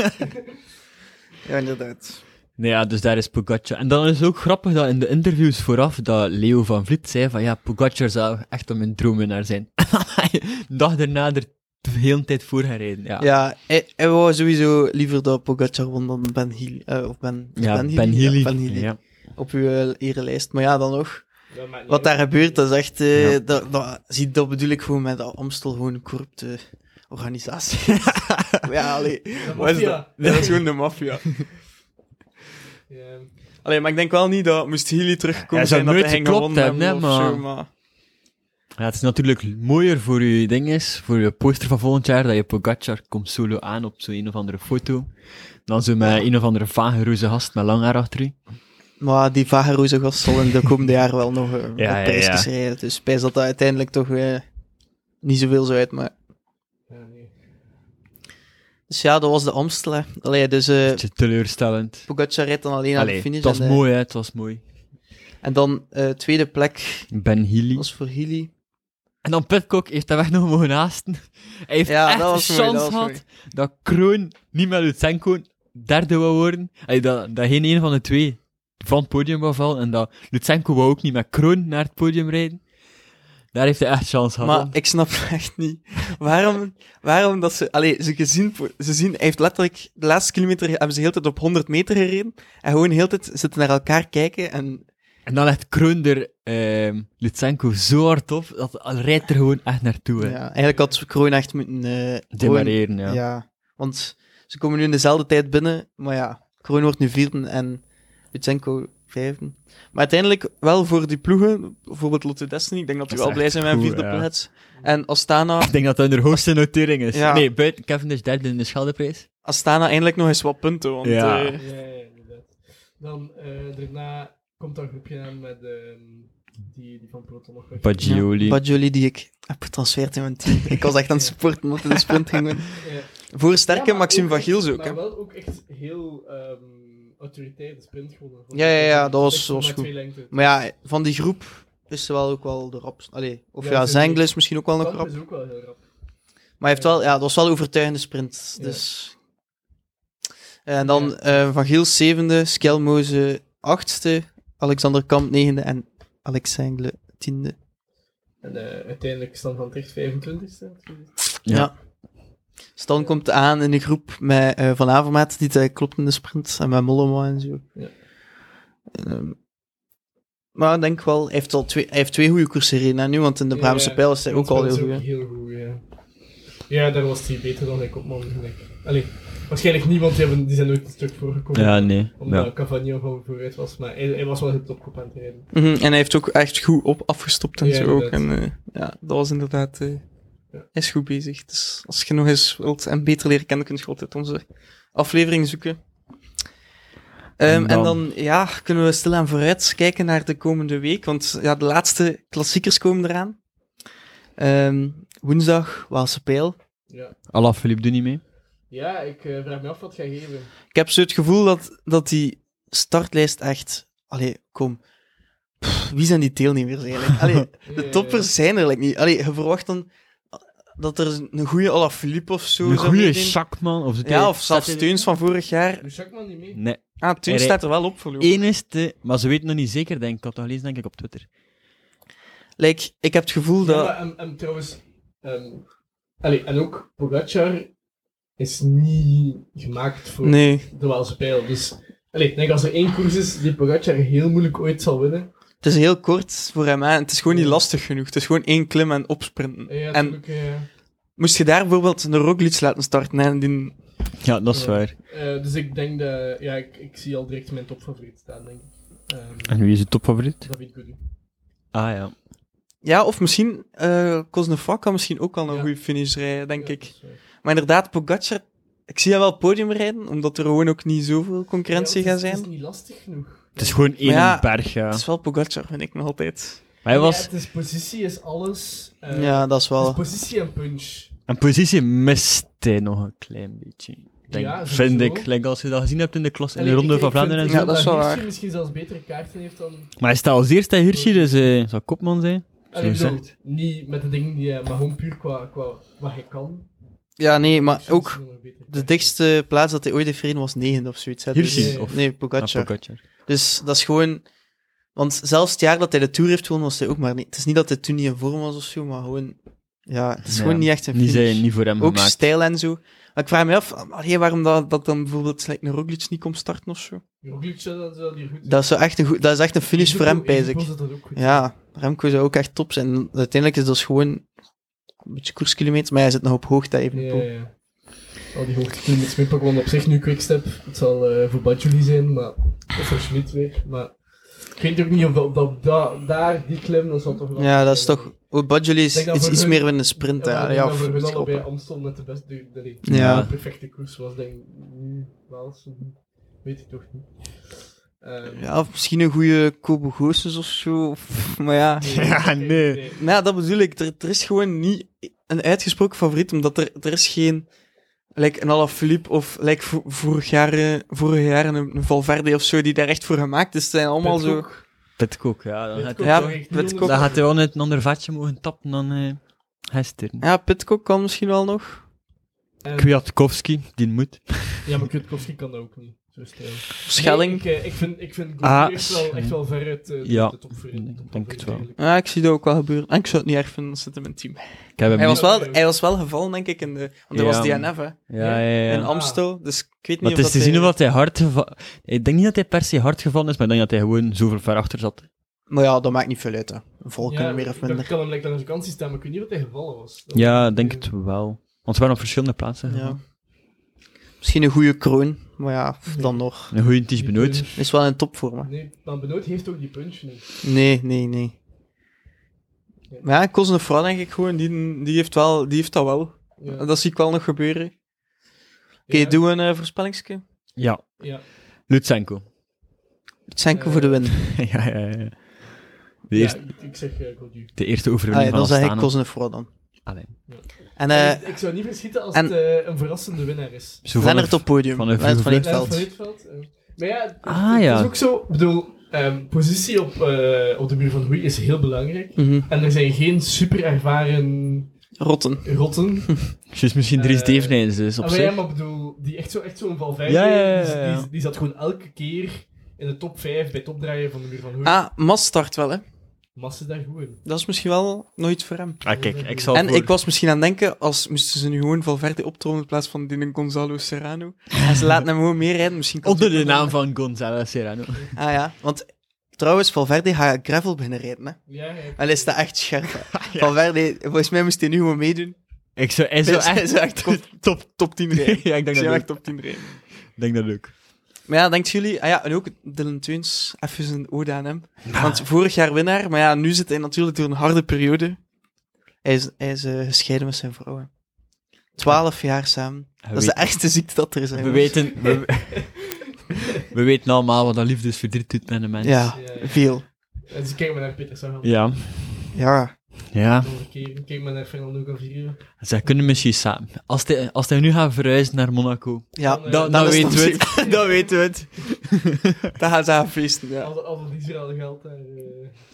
C: ja, inderdaad.
A: Nee, ja, dus daar is Pogacar. En dan is het ook grappig dat in de interviews vooraf dat Leo van Vliet zei van ja, Pogacar zou echt om mijn droomwinnaar zijn. [LAUGHS] Een dag daarna er de hele tijd voor gaan rijden. Ja,
C: Ja, hij, hij wou sowieso liever dat Pogacar won dan Ben Healy. eh, of Ben,
A: Ja,
C: ben Healy.
A: Ben
C: Ja,
A: Healy.
C: ben Healy.
A: Ja.
C: op uw eh, erelijst. Maar ja, dan nog.
D: dat maakt niet
C: Wat daar
D: uit.
C: gebeurt, dat is echt... eh,
A: Ja.
C: dat, dat, zie, dat bedoel ik gewoon met dat Amstel gewoon een corrupte [LAUGHS] organisatie. is. ja, allee.
D: Dat
E: Wat is
D: maffia.
E: dat? Dat is gewoon de maffia.
D: Ja.
E: Allee, maar ik denk wel niet dat moest Healy terugkomen
A: Hij zou
E: zijn dat
A: nooit
E: hij ging
A: geklopt
E: gewonnen
A: hebben,
E: hebben
A: hè,
E: of
A: maar-
E: zo, maar...
A: Ja, het is natuurlijk mooier voor je ding is, voor je poster van volgend jaar, dat je Pogacar komt solo aan op zo'n een of andere foto. Dan zo met een of andere vage roze gast met lang haar achter u.
C: Maar die Vagaroze gast zal in de komende [LAUGHS] jaren wel nog eh,
A: Ja,
C: wat
A: ja,
C: prijsjes
A: ja.
C: rijden. Dus spijs dat dat uiteindelijk toch eh, niet zoveel zo uit. Maar...
D: Ja, nee.
C: Dus ja, dat was de Amstel. hè. Allee, dus eh
A: Beetje teleurstellend.
C: Pogacar rijdt dan alleen aan de
A: Allee,
C: finish.
A: het was
C: en, eh,
A: mooi, hè, het was mooi.
C: en dan eh, tweede plek
A: Ben Healy.
C: was voor Healy.
A: En dan Pitcock heeft dat weg nog mogen haasten. Hij heeft
C: Ja,
A: echt
C: dat
A: een
C: was mooi,
A: chance
C: dat was
A: gehad dat Kroon niet met Lutsenko derde wou worden. Allee, dat, dat geen een van de twee van het podium wou vallen. En dat Lutsenko wou ook niet met Kroon naar het podium rijden. Daar heeft hij echt chance gehad.
C: Maar ik snap [LAUGHS] echt niet. Waarom, waarom dat ze... Allee, ze, gezien, ze zien... Hij heeft letterlijk... De laatste kilometer hebben ze heel tijd op 100 meter gereden. En gewoon heel tijd zitten naar elkaar kijken. En
A: En dan legt Kroon er ehm, Lutsenko zo hard op, dat hij rijdt er gewoon echt naartoe. hè.
C: ja, eigenlijk had Kroon echt moeten... eh gewoon-
A: Demareren, ja.
C: ja. Want ze komen nu in dezelfde tijd binnen. Maar ja, Kroon wordt nu vierde en Lutsenko vijfde. Maar uiteindelijk wel voor die ploegen. Bijvoorbeeld Lotte Destiny. Ik denk dat die
A: Dat is
C: wel blij
A: echt
C: zijn met een
A: goed,
C: vierde
A: ja.
C: plaats. En Astana...
A: Ik denk dat dat hun hoogste notering is.
C: Ja.
A: Nee, buiten Cavendish derde in de Scheldeprijs.
C: Astana eindelijk nog eens wat punten. Want,
A: Ja.
C: eh,
D: Ja, ja, inderdaad. Dan eh, daarna komt dat groepje aan met ehm, die, die van Proton nog weg.
A: Pagioli.
C: Ja, Pagioli die ik heb getransfeerd in mijn team. Ik was echt aan het supporten omdat hij de sprint ging winnen.
D: Ja.
C: Voor sterke
D: Eh, Ja, maar
C: Maxime
D: ook
C: van
D: echt-
C: Giels ook,
D: Maar
C: hè.
D: wel ook echt heel ehm autoritair de sprint gewonnen.
C: Ja, ja, ja, dat was-
D: Echt
C: was
D: maar
C: goed.
D: twee lengten.
C: Maar ja, van die groep is ze wel ook wel de rap. Allee, of ja,
D: Ja, ze-
C: Zengel is misschien ook wel nog
D: Kamp
C: rap.
D: is ook wel heel rap.
C: Maar hij heeft wel, ja, dat was wel een overtuigende sprint.
D: Ja.
C: Dus. En dan eh, Van Giels zevende, Skelmoze achtste, Alexander Kamp negende en Alex Zengele tiende.
D: En eh, uiteindelijk stand van terecht 25 e
A: Ja.
C: Stan komt aan in een groep met eh, Van Avermaat, die eh, klopt in de sprint, en met Mollema en zo.
D: Ja.
C: Ehm,
F: Maar ik denk wel, hij heeft, al twee, hij heeft twee goede koersen gereden hè, nu, want in de Vlaamse
D: Ja,
F: pijl is hij ook
D: dat
F: al heel
D: is
F: goed. hè.
D: heel goed, ja. Ja, daar was hij beter dan hij kopman. gelijk. Allee, waarschijnlijk niet, want die, hebben, die zijn nooit een stuk voorgekomen.
G: Ja, nee.
D: Omdat
G: Ja.
D: Cavani al van vooruit was, maar hij, hij was wel heel topkop aan het rijden.
C: Mhm, En hij heeft ook echt goed op afgestopt en
D: Ja,
C: zo ook. En,
D: inderdaad.
C: eh, ja, dat was inderdaad... eh,
D: Ja.
C: Hij is goed bezig. Dus als je nog eens wilt en beter leren kennen, kun je altijd onze aflevering zoeken. Ehm,
G: En dan-
C: En dan ja, kunnen we stilaan vooruit kijken naar de komende week. Want ja, de laatste klassiekers komen eraan. Ehm, woensdag, Waalse Pijl.
D: Ja,
A: Allah Philippe doet niet mee.
D: ja ik eh, vraag me af wat hij gaat geven.
C: Ik heb zo het gevoel dat, dat die startlijst echt... Allee, kom. Pff, wie zijn die deelnemers eigenlijk? Allee, De
D: Ja,
C: toppers zijn er eigenlijk niet. Allee, je verwacht dan dat er een goede Alaphilippe of zo
G: Een
C: zou
G: goede
C: meedoen.
G: Schakman. Of zit hij-
C: Ja, of zelfs
G: staat hij-
C: Teuns van vorig jaar.
D: ja. Doet Schakman niet mee?
A: Nee.
C: Ah, Teuns
A: Hij-
C: staat er wel op voor
A: Enigste, eh, maar ze weten nog niet zeker, denk ik. Ik had dat gelezen, denk ik, op Twitter.
C: Like, ik heb het gevoel
D: Ja,
C: dat...
D: maar, en, en trouwens, ehm, allee, en ook Pogacar is niet gemaakt voor
C: Nee,
D: de Waalse pijl. Dus allee, ik denk als er één koers is die Pogacar heel moeilijk ooit zal winnen.
C: het is heel kort voor hem. Hè. Het is gewoon niet lastig genoeg. Het is gewoon één klim en opsprinten.
D: Ja,
C: en
D: natuurlijk, eh,
C: moest je daar bijvoorbeeld een Roglic laten starten hè, en die...
A: Ja, dat is
D: Ja.
A: waar.
D: eh, dus ik denk dat, ja, ik, ik zie al direct mijn topfavoriet staan, denk ik. Ehm
A: En wie is je topfavoriet?
D: David Gooding.
A: Ah ja.
C: Ja, of misschien... eh Cosnefroid kan misschien ook al een
D: Ja.
C: goede finish rijden, denk
D: Ja, dus, eh,
C: ik.
D: dat is waar. Ja,
C: Maar inderdaad, Pogacar... Ik zie hem wel podium rijden, omdat er gewoon ook niet zoveel concurrentie
D: want het
C: gaat zijn.
D: is- Het is niet lastig genoeg.
A: Het is gewoon één
C: ja,
A: berg, ja.
C: Het is wel Pogacar, vind ik nog altijd.
A: Maar hij
D: Ja,
A: was
D: het is positie is alles. eh,
F: ja, dat is
D: het
F: wel...
D: is positie en punch.
A: een positie mist hij nog een klein beetje. Ik Denk,
D: Ja,
A: vind
D: sowieso.
A: ik. Like, als je dat gezien hebt in de klas, in de
D: Allee,
A: Ronde
D: ik-
A: van
D: ik vind
A: Vlaanderen en
D: het
A: zo.
C: Ja, dat is wel
D: Hirschi
C: waar.
D: misschien zelfs betere kaarten heeft dan...
A: Maar hij staat als eerste in Hirschi, dus eh zou kopman zijn.
D: Allee, ik bedoel,
A: gezegd.
D: niet met de dingen die hij... Maar gewoon puur qua, qua wat hij kan.
F: Ja, nee,
D: Ik
F: maar
D: vind
F: ook
D: misschien wel een betere
F: de
D: kaart.
F: dichtste plaats dat hij ooit heeft gereden was 9 of zoiets. Hè.
A: Hirschi,
F: Dus-
A: of-
F: Nee,
A: Ah,
F: Pogacar.
A: Pogacar.
F: Dus dat is gewoon... Want zelfs het jaar dat hij de Tour heeft gewonnen, was hij ook maar niet... Het is niet dat hij toen niet in vorm was of zo, maar gewoon... Ja, het is
A: Ja,
F: gewoon niet echt een
A: Die
F: finish.
A: zijn niet voor hem
F: ook
A: gemaakt.
F: stijl en zo. Maar ik vraag me af, allee, waarom dat, dat dan bijvoorbeeld like, een Roglic niet komt starten of zo?
D: Roglic, dat is wel die goed.
F: Dat is, zo echt een goed, dat is echt een finish voor hem, pijs ik.
D: Dat dat ook goed.
F: Ja, Remco zou ook echt top zijn. Uiteindelijk is dat
C: dus
F: gewoon een beetje koerskilometer, maar hij zit nog op hoogte even.
D: Ja, ja, ja. Al die hoogtekilometers mee pakken, want op zich nu Quickstep. Het zal eh, voor Badjuli zijn, maar... Of voor Schmid weer, maar... Ik weet ook niet of dat, op dat, dat- daar, die klim, dat zal toch wel...
F: Ja, dat is toch... Oh, Badjoli is
D: Ik denk dat
F: iets,
D: voor
F: iets
D: hun-
F: meer in een sprint.
D: Ja,
F: Ja,
D: maar
F: ja,
D: ik denk dat
F: of-
D: we
F: of-
D: wel bij Amstel met de beste de, de, de,
F: Ja.
D: perfecte koers was, denk ik. nu Wel, zo- weet ik toch niet. Ehm,
F: ja, of misschien een goede Kobo Goossens of zo. of- maar ja. [LAUGHS]
G: Ja, nee.
C: Nou, ja, dat bedoel ik. Er, er is gewoon niet een uitgesproken favoriet, omdat er, er is geen... Like een Alaphilippe of like vo- vorig jaar, eh, vorig jaar een, een Valverde of zo, die daar echt voor gemaakt is. Het zijn allemaal zo...
A: Pitcock, ja. Dan gaat,
D: Pitcock
A: hij,
C: Ja,
D: zou echt niet
C: Pitcock.
D: onder-
A: dan gaat hij wel net een ander vatje mogen tappen dan eh gisteren.
C: Ja, Pitcock kan misschien wel nog.
D: Ehm,
A: Kwiatkowski, die moet.
D: Ja, maar Kutkowski kan dat ook niet. Zo stijl.
A: [LAUGHS]
C: Schelling.
D: Nee, ik, eh, ik vind, ik vind
A: Ah,
D: Gourcuff echt, wel, echt wel veruit eh, de-
A: Ja,
D: de top voor- de
A: ik
D: top
A: denk
D: voor-
A: het wel.
D: eigenlijk.
C: Ja, ik zie dat ook wel gebeuren. En ik zou het niet erg vinden, als het in mijn team.
A: Ik heb hem
C: Hij
A: niet-
C: was wel, hij was wel gevallen, denk ik, in de... Want er was
A: Ja.
C: DNF, hè.
A: Ja, ja,
C: In
A: ja.
C: Amstel, dus ik weet niet
A: Maar
C: of
A: het is te
C: dat
A: zien
C: hij-
A: of dat hij hard gevallen... Ik denk niet dat hij per se hard gevallen is, maar ik denk dat hij gewoon zoveel ver achter zat.
F: Maar ja, dat maakt niet veel uit. Hè. Een volk
D: Ja,
F: meer of
D: ik- Ik
F: minder.
D: kan hem lekker aan de vakantie staan, maar ik weet niet wat hij gevallen was. Dat-
A: Ja, ik denk het wel. Want ze waren op verschillende plaatsen.
F: Ja. Misschien een goede kroon, maar ja, pff, dan nog.
A: Een goede tisch benoemd.
D: punch-
F: Is wel in topvorm. hè.
D: Nee, maar Benoot heeft ook die punch niet.
F: Nee, nee, nee.
C: Maar ja, Cosnefroid, denk ik gewoon, die, die, heeft wel, die heeft dat wel.
D: Ja.
C: Dat zie ik wel nog gebeuren. Oké,
D: Ja.
C: doe een eh, voorspellingske.
A: Ja.
D: Ja.
A: Lutsenko. [LAUGHS]
F: Lutsenko
D: Eh,
F: voor de win.
A: ja, ja, ja. De,
D: Ja,
A: eerste,
D: ik, ik zeg eh Godu.
A: de eerste
F: Ah, ja,
A: overwinning van
F: dan zeg ik
A: Astana.
F: Cosnefroid dan.
A: Allee.
F: En eh
D: ik, ik zou niet verschieten als
F: en-
D: het eh, een verrassende winnaar is.
A: Zo van
F: Lennart
A: [LAUGHS] een-
F: op podium.
A: van een
F: Lennart van
A: vroege
D: Lennart
F: Lichtveld.
D: van Rietveld, eh. Maar ja, het,
A: Ah,
D: het
A: ja.
D: is ook zo. Ik bedoel, ehm, positie op, eh, op de muur van Hoei is heel belangrijk.
F: Mhm.
D: En er zijn geen super ervaren
C: Rotten.
D: rotten.
A: [LAUGHS] Het is misschien Dries
D: Eh,
A: Deveneens is op
D: Ah, maar ja,
A: zich.
D: maar ik bedoel, die echt zo'n echt zo'n Valverde,
A: Ja, ja, ja, ja,
D: Die,
A: ja.
D: die, die zat gewoon elke keer in de top 5 bij het opdraaien van de muur van Hoei.
C: Ah, Mas start wel, hè.
D: Massa daar goed in.
C: Dat is misschien wel nooit voor hem.
A: Ah, kijk, ik zal
C: en
A: voor-
C: ik was misschien aan het denken, als moesten ze nu gewoon Valverde optromen in plaats van die Gonzalo Serrano. En ze laten hem gewoon meer rijden, misschien... kan
A: Onder
C: hij-
A: de naam van Gonzalo Serrano.
C: Ah ja, want Trouwens, Valverde gaat gravel binnen rijden. Hè.
D: Ja, ja.
C: Allee, is dat echt scherp.
A: [LAUGHS]
C: hè. Valverde, volgens mij moest hij nu gewoon meedoen.
A: Ik zou, hij zou
C: [LAUGHS] Hij
A: echt...
C: zou echt top, top, 10 rijden.
A: [LAUGHS] ja, ik denk
C: Hij
A: dat
C: zou
A: ook.
C: echt top 10 rijden.
A: Ik denk dat ook.
C: Maar ja, denkt jullie... Ah ja, en ook Dylan Teuns, even een ode aan hem. Want vorig jaar winnaar, maar ja, nu zit hij natuurlijk door een harde periode. Hij is, hij is eh, gescheiden met zijn vrouw. hè. Twaalf jaar samen.
A: Hij
C: Dat is de ergste ziekte dat er is. hè,
A: We
C: jongens.
A: weten, we, [LAUGHS] we weten allemaal wat dat liefdesverdriet doet met een mens.
C: Ja,
D: Ja, ja.
C: veel.
D: En ze kijken maar naar Peter Sagan.
A: Ah. Ja.
C: Ja.
A: Ja.
D: Kijk, kijk maar naar Fernando Gaviria.
A: Zij kunnen misschien samen. Als hij, als hij nu gaat verhuizen naar Monaco,
C: Ja,
D: Dan, eh,
A: dan,
C: dan
A: dan
C: is
A: weten
C: het
A: we het.
C: dat weten we het. [LAUGHS] Daar gaan ze aan feesten, ja.
D: [LAUGHS] Al dat- al dat Israël geld daar.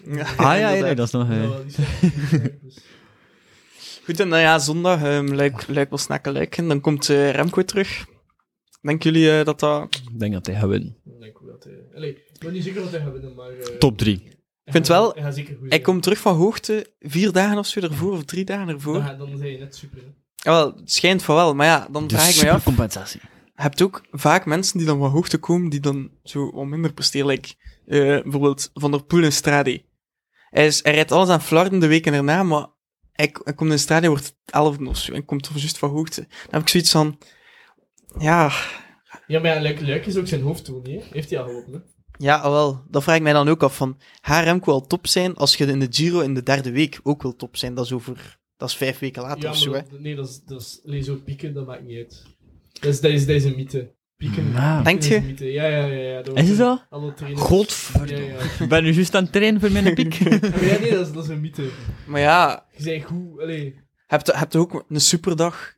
D: eh,
C: ja.
A: Ah ja, nee,
C: inderdaad.
A: dat is nog... eh,
D: dat wel
C: [LAUGHS]
D: Israël- dus.
C: Goed, en nou ja, zondag, ehm Luik, Luik was snakken Luik. En dan komt eh, Remco terug. Denken jullie eh, dat dat...
A: Ik denk dat hij gaat winnen.
D: Ik denk ook dat hij... Allee, ik ben niet zeker wat hij gaat winnen, maar... eh,
A: Top 3.
D: hij
C: vind
D: gaat-
C: wel,
D: Hij gaat zeker goed
C: Hij
D: zijn.
C: komt terug van hoogte vier dagen of zo ervoor, of drie dagen ervoor.
D: Dan,
C: Ja,
D: ga- dan zijn je net super. hè.
C: wel, het schijnt van wel, maar ja, dan
A: Dus
C: vraag ik me af.
A: compensatie.
C: Je hebt ook vaak mensen die dan van hoogte komen, die dan zo wat minder presteren. Like, eh, bijvoorbeeld Van der Poel in Strade. Hij, is, hij rijdt alles aan Flarden de weken erna, maar hij, hij komt in Strade, wordt elfde of zo, en komt toch juist van hoogte. Dan heb ik zoiets van... Ja,
D: Ja, maar ja, Luik, Luik is ook zijn hoofddoel, niet? hè? Heeft hij al gewonnen? hè?
C: Ja, ah, wel. Dat vraag ik mij dan ook af van, gaat Remco al top zijn als je in de Giro in de derde week ook wil top zijn? Dat is over, dat is vijf weken later
D: Ja,
C: of zo, hè.
D: maar dat- nee, dat is, dat is... allee, zo pieken, dat maakt niet uit. Dat is, dat is, dat is een mythe. Pieken,
A: Nou.
D: pieken
C: Denkt
D: is
C: Ah. je?
D: een mythe. Ja, ja, ja. ja
A: Is het dat?
D: Alle trainers... Ja,
A: Godverdomme.
D: ja.
A: Ik ben nu juist aan het trainen voor mijn [LAUGHS] piek.
D: Maar ja, nee, dat is, dat is een mythe.
C: Maar ja,
D: Je zei goed, allee...
C: heb je hebt ook een superdag.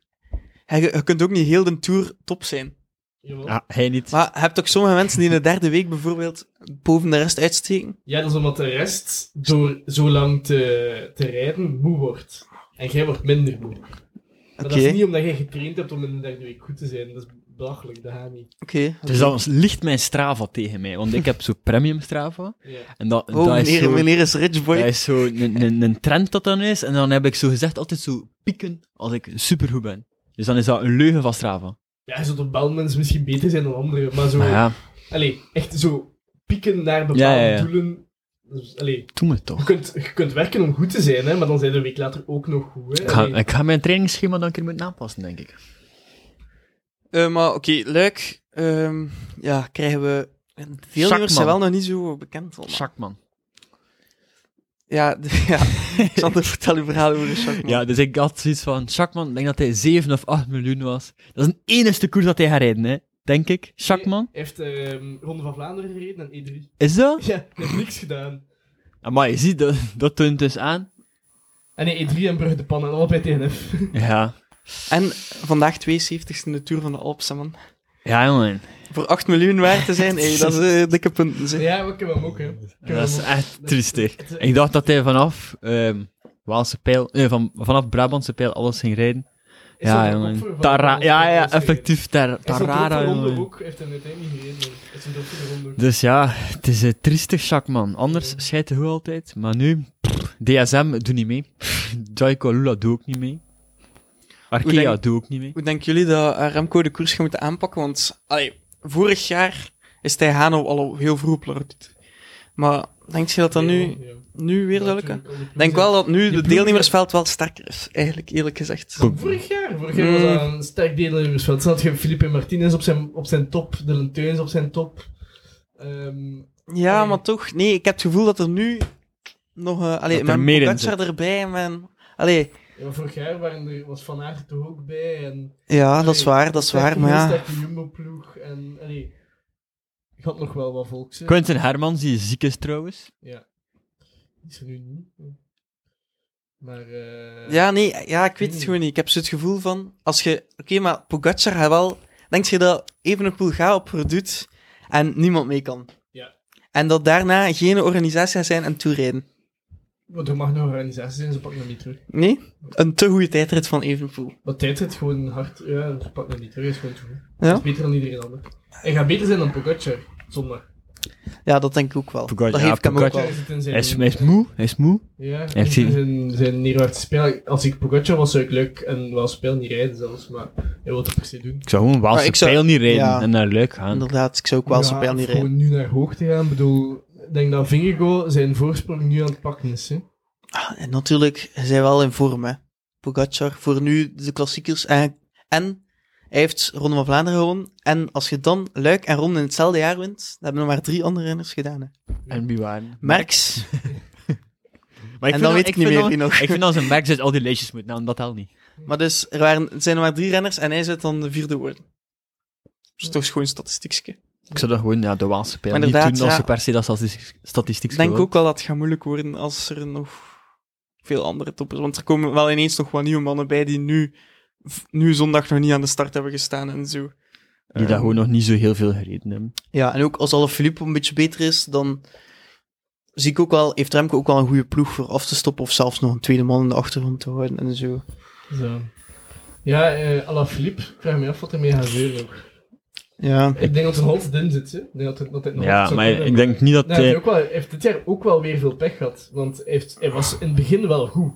C: Ja, Je, je kunt ook niet heel de Tour top zijn.
D: Jawel.
A: Ja, Ah, hij niet.
C: Maar je hebt ook sommige mensen die in de derde week bijvoorbeeld boven de rest uitsteken.
D: Ja, dat is omdat de rest, door zo lang te, te rijden, moe wordt. En jij wordt minder moe. Maar dat
C: Oké.
D: is niet omdat jij getraind hebt om in de derde week goed te zijn. Dat is belachelijk, dat gaat niet.
C: Oké.
A: Dus dan ligt mijn Strava tegen mij, want ik heb zo premium Strava.
D: Ja.
A: En dat,
C: Oh,
A: dat is
C: meneer,
A: zo,
C: meneer is rich boy.
A: dat is zo een, een, een trend dat dan is. En dan heb ik zo gezegd altijd zo pieken als ik supergoed ben. Dus dan is dat een leugen van Strava.
D: Ja, zo tot belmens misschien beter zijn dan anderen, maar zo...
A: Maar ja,
D: Allee, echt zo pieken naar bepaalde
A: Ja, ja, ja.
D: doelen. Dus, allee,
A: doe me
D: je
A: toch.
D: kunt, je kunt werken om goed te zijn, hè, maar dan zijn de week later ook nog goed. Hè.
A: Ik ga,
D: Allee,
A: ik ga mijn trainingsschema dan een keer moeten aanpassen, denk ik.
C: Eh, maar oké, leuk. Ehm, ja, krijgen we... De deelnemers zijn wel nog niet zo bekend allemaal.
A: Schakman.
C: Ja, de- ja. Xander, vertel uw verhaal over de Schakman.
A: Ja, dus ik had zoiets van, Schakman, ik denk dat hij 7 of 8 miljoen was. Dat is een enigste koers dat hij gaat rijden, hè. denk ik. Schakman,
D: Hij heeft ehm, Ronde van Vlaanderen gereden en E3.
A: is dat?
D: [LAUGHS] Ja, hij heeft niks gedaan.
A: Maar je ziet, dat, dat toont dus aan.
D: En Ah, nee, E3 en Brugge de Pan en allebei TNF.
A: Ja.
C: En vandaag 72 in de Tour van de Alpse, man.
A: Ja, jongen.
C: Voor 8 miljoen waard te zijn, hey, dat is eh, dikke punten. zeg.
D: Ja, maar ik heb hem ook, hè. Ik heb hem
A: Dat is
D: ook.
A: echt triest, hè.
D: Het-
A: Ik dacht dat hij vanaf ehm Waalse pijl, eh, van, vanaf Brabantse pijl alles ging rijden.
D: Is dat
A: ja,
D: een
A: jongen.
D: kop voor Van
A: Tara,
D: Basten
A: ja, ja,
D: Basten
A: effectief. Tar,
D: gereden? Is dat ook
A: tarara,
D: voor Ronde
A: jongen.
D: ook? Heeft hem uiteindelijk niet gereden. maar Is een dood voor de Ronde ook.
A: Dus ja, het is een triestig Schakman. Anders
D: Ja.
A: scheidt hij hoe altijd. Maar nu, pff, DSM doet niet mee. Jaiko Lula doet ook niet mee.
C: Hoe
A: Arkea
C: denk-
A: doet ook niet mee.
C: Hoe denken jullie dat eh, Remco de koers gaat moeten aanpakken? Want allee, vorig jaar is Tij Hano al heel vroeg op Lordiet. Maar denk je dat dat
D: Nee,
C: nu,
D: ja.
C: nu weer
D: Ja,
C: zou
D: tuurlijk,
C: lukken?
D: al die ploegen
C: Ik denk wel dat nu het
D: ploeg-
C: deelnemersveld wel sterker is, eigenlijk, eerlijk gezegd.
D: zijn- Vorig jaar, vorig jaar
C: Mm.
D: was dat een sterk deelnemersveld. Zat je Felipe Martinez op zijn, op zijn top, Dylan Teuns op zijn top. Ehm,
C: Ja, maar toch, nee, ik heb het gevoel dat er nu nog... eh allee,
A: er
C: mijn
A: meer in
C: Pogacar erbij, mijn... Allee,
D: ja, vorig jaar waren er, was Van Aert toch ook bij. En,
C: ja, dat is waar, dat is waar, maar ja...
D: Sterke Jumbo-ploeg. En, allee, ik had nog wel wat volks. hè.
A: Quentin Hermans, die ziek is trouwens.
D: Ja. Is er nu niet. Maar... eh,
C: Ja, nee, ja, ik weet het
D: Hmm.
C: gewoon niet. Ik heb zo het gevoel van, als je... Oké, maar Pogacar gaat wel... Denk je dat Evenepoel gaat op Redoute en niemand mee kan?
D: Ja.
C: En dat daarna geen organisatie gaat zijn en toerijden?
D: Want er mag nog een organisatie zijn, ze pakken hem niet terug.
C: Nee? Een te goede tijdrit van Evenepoel.
D: Maar tijdrit gewoon hard, ja, ze pakken hem niet terug, is gewoon te goed.
C: Ja?
D: Is beter dan iedereen ander. Hij gaat beter zijn dan Pogacar, zondag.
C: Ja, dat denk ik ook wel.
A: Pogacar-
C: dat
A: ja,
C: geef ik hem ook
A: Pogacar
C: wel.
D: Pogacar zit in zijn...
A: Hij is, hij is moe, hij is moe.
D: Ja,
A: Hij heeft zin.
D: in zijn, zijn neerwaartse spel. Als ik Pogacar was, zou ik leuk en wel speel niet rijden zelfs, maar hij wil het per se doen.
A: Ik zou gewoon
C: Maar
A: Waalse
C: ik zou-
A: pijl niet rijden
C: ja.
A: en naar Luik gaan.
C: Inderdaad, ik zou ook wel
D: Ja,
C: zo pijl niet
D: of
C: rijden.
D: gewoon nu naar hoogte gaan, ik bedoel... denk dat Vingegaard zijn voorsprong nu aan het pakken is. Hè?
C: Ah, en natuurlijk, hij zijn wel in vorm, hè. Pogacar, voor nu de klassiekers. En, en hij heeft Ronde van Vlaanderen gewonnen. En als je dan Luik en Ronde in hetzelfde jaar wint, dan hebben er maar drie andere renners gedaan, hè.
A: En wie waren?
C: Merks.
A: Maar
C: en dan weet ik niet meer wie nog. [LAUGHS]
A: Ik vind als een Max uit al die lijstjes moet nou, dat helpt niet.
C: Maar dus, er waren, het zijn er maar drie renners en hij zit dan de vierde worden.
E: Dat is toch gewoon een statistiekje.
A: Ik zou dat gewoon ja, de Waanse pijl
C: Maar
A: niet
C: inderdaad,
A: doen als
C: ja.
A: ze per se dat statistiek, statistiek
E: Ik denk
A: willen.
E: ook wel dat het gaat moeilijk worden als er nog veel andere toppers... Want er komen wel ineens nog wat nieuwe mannen bij die nu, v- nu zondag nog niet aan de start hebben gestaan en zo.
A: Die daar gewoon nog niet zo heel veel gereden hebben.
C: Ja, en ook als Alaphilippe een beetje beter is, dan zie ik ook wel, heeft Remco ook wel een goede ploeg voor af te stoppen of zelfs nog een tweede man in de achtergrond te houden en zo.
D: Zo. Ja, eh Alaphilippe, ik vraag me af wat hij mee gaat zeuren ook.
C: Ja,
D: Ik denk dat zijn hand erin zit. Hè? Ik denk dat, het- dat hij het nog
A: Ja,
D: zou
A: maar
D: kunnen
A: ik
D: hebben.
A: denk niet dat...
D: Nee, Nou, hij heeft,
A: eh,
D: ook wel, hij heeft dit jaar ook wel weer veel pech gehad. Want hij, heeft, hij was in het begin wel goed.